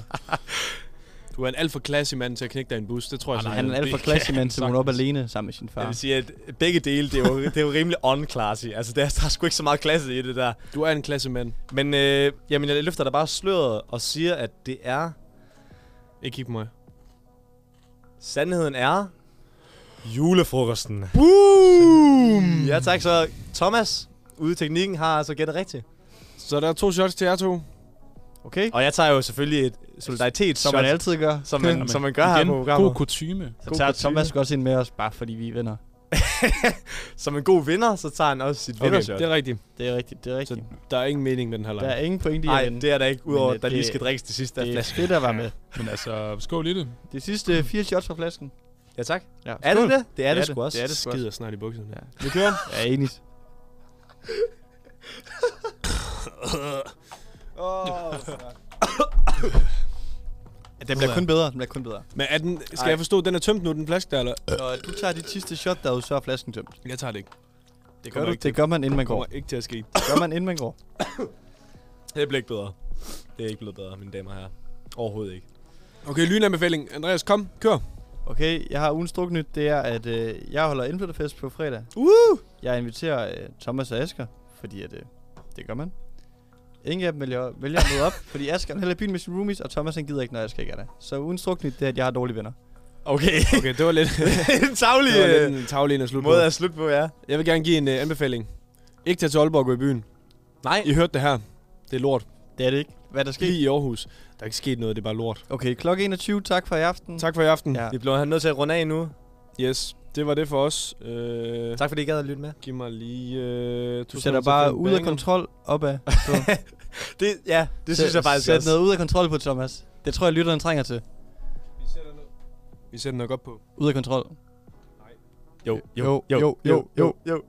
F: Du er en alt for classy mand til at knække dig i en bus. Det tror jeg
E: Ah,
F: sådan.
D: Han er
E: det
D: alt for
E: kan
D: klasse,
E: han
D: men så hun er op
E: sagtens.
D: alene sammen med sin
C: (laughs)
D: far.
C: Jeg vil sige, at begge dele, det er jo, det er jo rimelig on-classy. Altså, der, der er sgu ikke så meget klasse i det der.
F: Du er en klasse mand.
C: Men øh, jamen, jeg løfter da bare sløret og siger, at det er...
F: Ikke kig på mig.
C: Sandheden er... Julefrokosten.
F: Boom!
C: Ja tak, så Thomas ude i teknikken har altså gættet rigtigt.
F: Så der er to shots til jer to.
D: Okay?
C: Og jeg tager jo selvfølgelig et solidaritetsshot,
D: Som man altid gør.
C: som man,
E: Jamen,
C: som man gør her
E: igen,
C: på programmet.
E: God kutume.
D: Så
C: God
D: tager
C: kutyme.
D: Thomas også ind med os, bare fordi vi er venner.
C: Som en god vinder, så tager han også sit okay,
F: Okay,
C: vindershot.
F: det er rigtigt.
D: Det er rigtigt, det er
F: Så
D: rigtigt.
F: der er ingen mening med den her leg.
D: der er ingen point i
C: Nej,
D: at vinde.
C: det er der ikke, udover
D: Men,
C: at
D: øh,
C: der lige
D: det-
C: skal drikkes til sidste af
D: det er
C: flasken.
D: fedt at være med.
E: Men altså, skål i det.
D: De sidste fire shots fra flasken.
C: Ja tak.
D: Ja.
C: Er det
D: skål.
C: det? Det er
D: er
C: det
D: det.
C: sgu også.
D: Det er det sgu også.
F: Skider snart i bukserne.
D: Ja. Vi kører. Ja, enigt. oh, den bliver kun bedre, den bliver kun bedre.
F: Men er den, skal Ej. jeg forstå, at den er tømt nu, den flaske der, eller?
D: Når du tager dit sidste shot derude, så er flasken tømt.
F: Jeg tager det ikke.
D: Det
F: kommer
D: gør, du,
F: ikke
D: det gør man, inden man
F: Det
D: går.
F: kommer ikke til at ske.
D: Det gør man, inden man går.
C: Det bliver ikke bedre. Det er ikke blevet bedre, mine damer og herrer. Overhovedet ikke.
F: Okay, lynanbefaling. Andreas, kom, (laughs) kør.
D: Okay, jeg har ugens druknyt. Det er, at øh, jeg holder indflytterfest på fredag. Uh! Jeg inviterer øh, Thomas og Asger, fordi at, øh, det gør man. Ingen af dem vælger, vælger at møde op, fordi Asger han hælder i byen med sine roomies, og Thomas han gider ikke, når Asger ikke er der. Så ugens druknyt, det er, at jeg har dårlige venner.
C: Okay.
F: Okay, det var lidt,
C: en tavlig
F: det var
C: øh,
F: lidt en tavle at slutte på.
C: måde at slutte på, ja.
F: Jeg vil gerne give en uh, anbefaling. Ikke tage til Aalborg og gå i byen.
C: Nej.
F: I hørte det her. Det er lort.
D: Det er det ikke. Hvad er der sker?
F: Lige i Aarhus. Der er ikke sket noget, det er bare lort.
D: Okay, klokke 21. Tak for i aften.
F: Tak for i aften.
D: Mm. Ja.
C: Vi bliver han nødt til at runde af nu.
F: Yes, det var det for os. Øh,
C: Tak fordi I gad at lytte med.
F: Giv mig lige... Øh,
D: Du sætter bare ud af
F: kontrol.
D: kontrol opad.
C: Det, ja, det synes
D: Sæt-
C: jeg faktisk
D: Sæt
C: også.
D: noget ud af kontrol på, Thomas. Det tror jeg, lytteren trænger til.
F: Vi sætter nok op på.
D: Ud af kontrol.
C: Jo,
D: Jo, jo, jo, jo.
C: jo.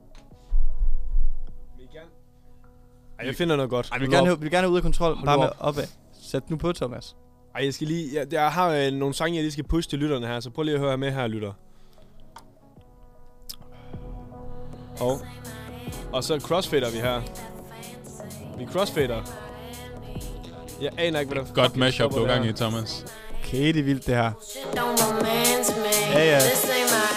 F: Ej, jeg finder noget godt.
D: Ej, vi vil gerne, vi vil gerne ud af kontrol,
F: Hold
D: bare
F: nu
D: med opad. Sæt nu på, Thomas.
F: Ej, jeg skal lige... Jeg, jeg har øh, nogle sange, jeg lige skal pushe til lytterne her, så prøv lige at høre med her, lytter. Og, og så crossfader vi her. Vi crossfader. Jeg aner ikke, hvad der
E: Godt
F: fucking
E: mashup, du
F: stopper
E: er gang
F: der.
E: i, Thomas.
D: Okay, det er vildt, det her.
H: Don't romance me.
D: Ja, ja.
H: This ain't Miami.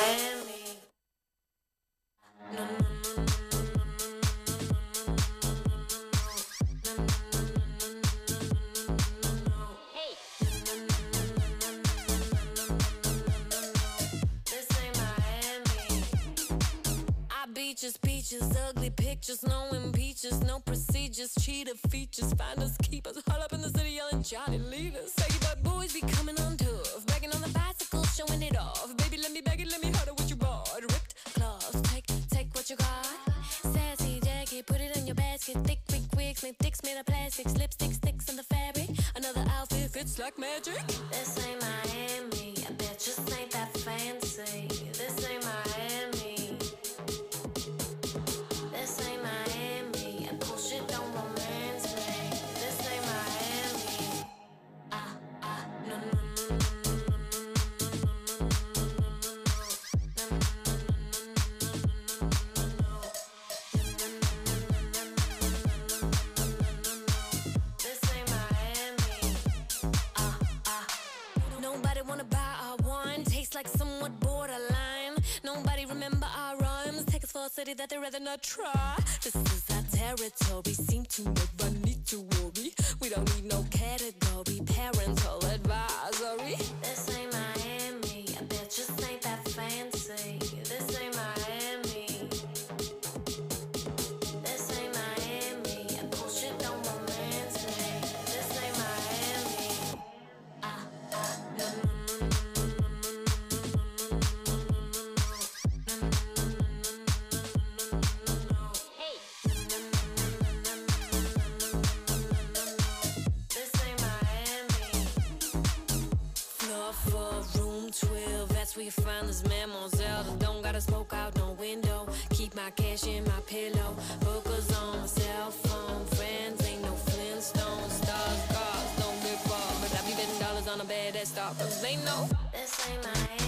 H: This ain't Miami. I beaches, peaches, ugly pictures, no impeachers, no procedures, cheater features, find us, keep us, huddle up in the city yelling Johnny leave us. Saggy boy boys be coming on tough, bagging on the bicycle, showing it off. Baby, let me bag it, let me huddle what you bought. Ripped gloves, take, take what you got. Sassy jacket, put it on your basket. Thick, big wigs, make dicks made of plastics, lipstick sticks in the fabric. Another outfit fits like magic. This ain't Miami, I bet just ain't that fancy. This ain't Miami. This ain't Miami, and bullshit don't romance me. This ain't Miami. Ah, ah, no, no, no, no, no, no, no, no, no, no, no, no, no. This ain't Miami. Ah, ah. Nobody wanna buy our wine, tastes like somewhat borderline. Nobody remember our rhymes, take us for a city that they'd rather not try. This is our territory, seem to never need to worry. We don't need no category, parental advisory. This ain't Miami, I bet just ain't that fancy. This ain't Miami. This ain't Miami, and bullshit don't romance me. This ain't Miami. This ain't Miami. Floor for room 12, that's where you find this mademoiselle that don't gotta smoke out no window. Keep my cash in my pillow, hookers on my cell phone. Friends ain't no Flintstones, stars, cars, don't get far. But I be betting dollars on a bad at Starbucks, they know. This ain't Miami.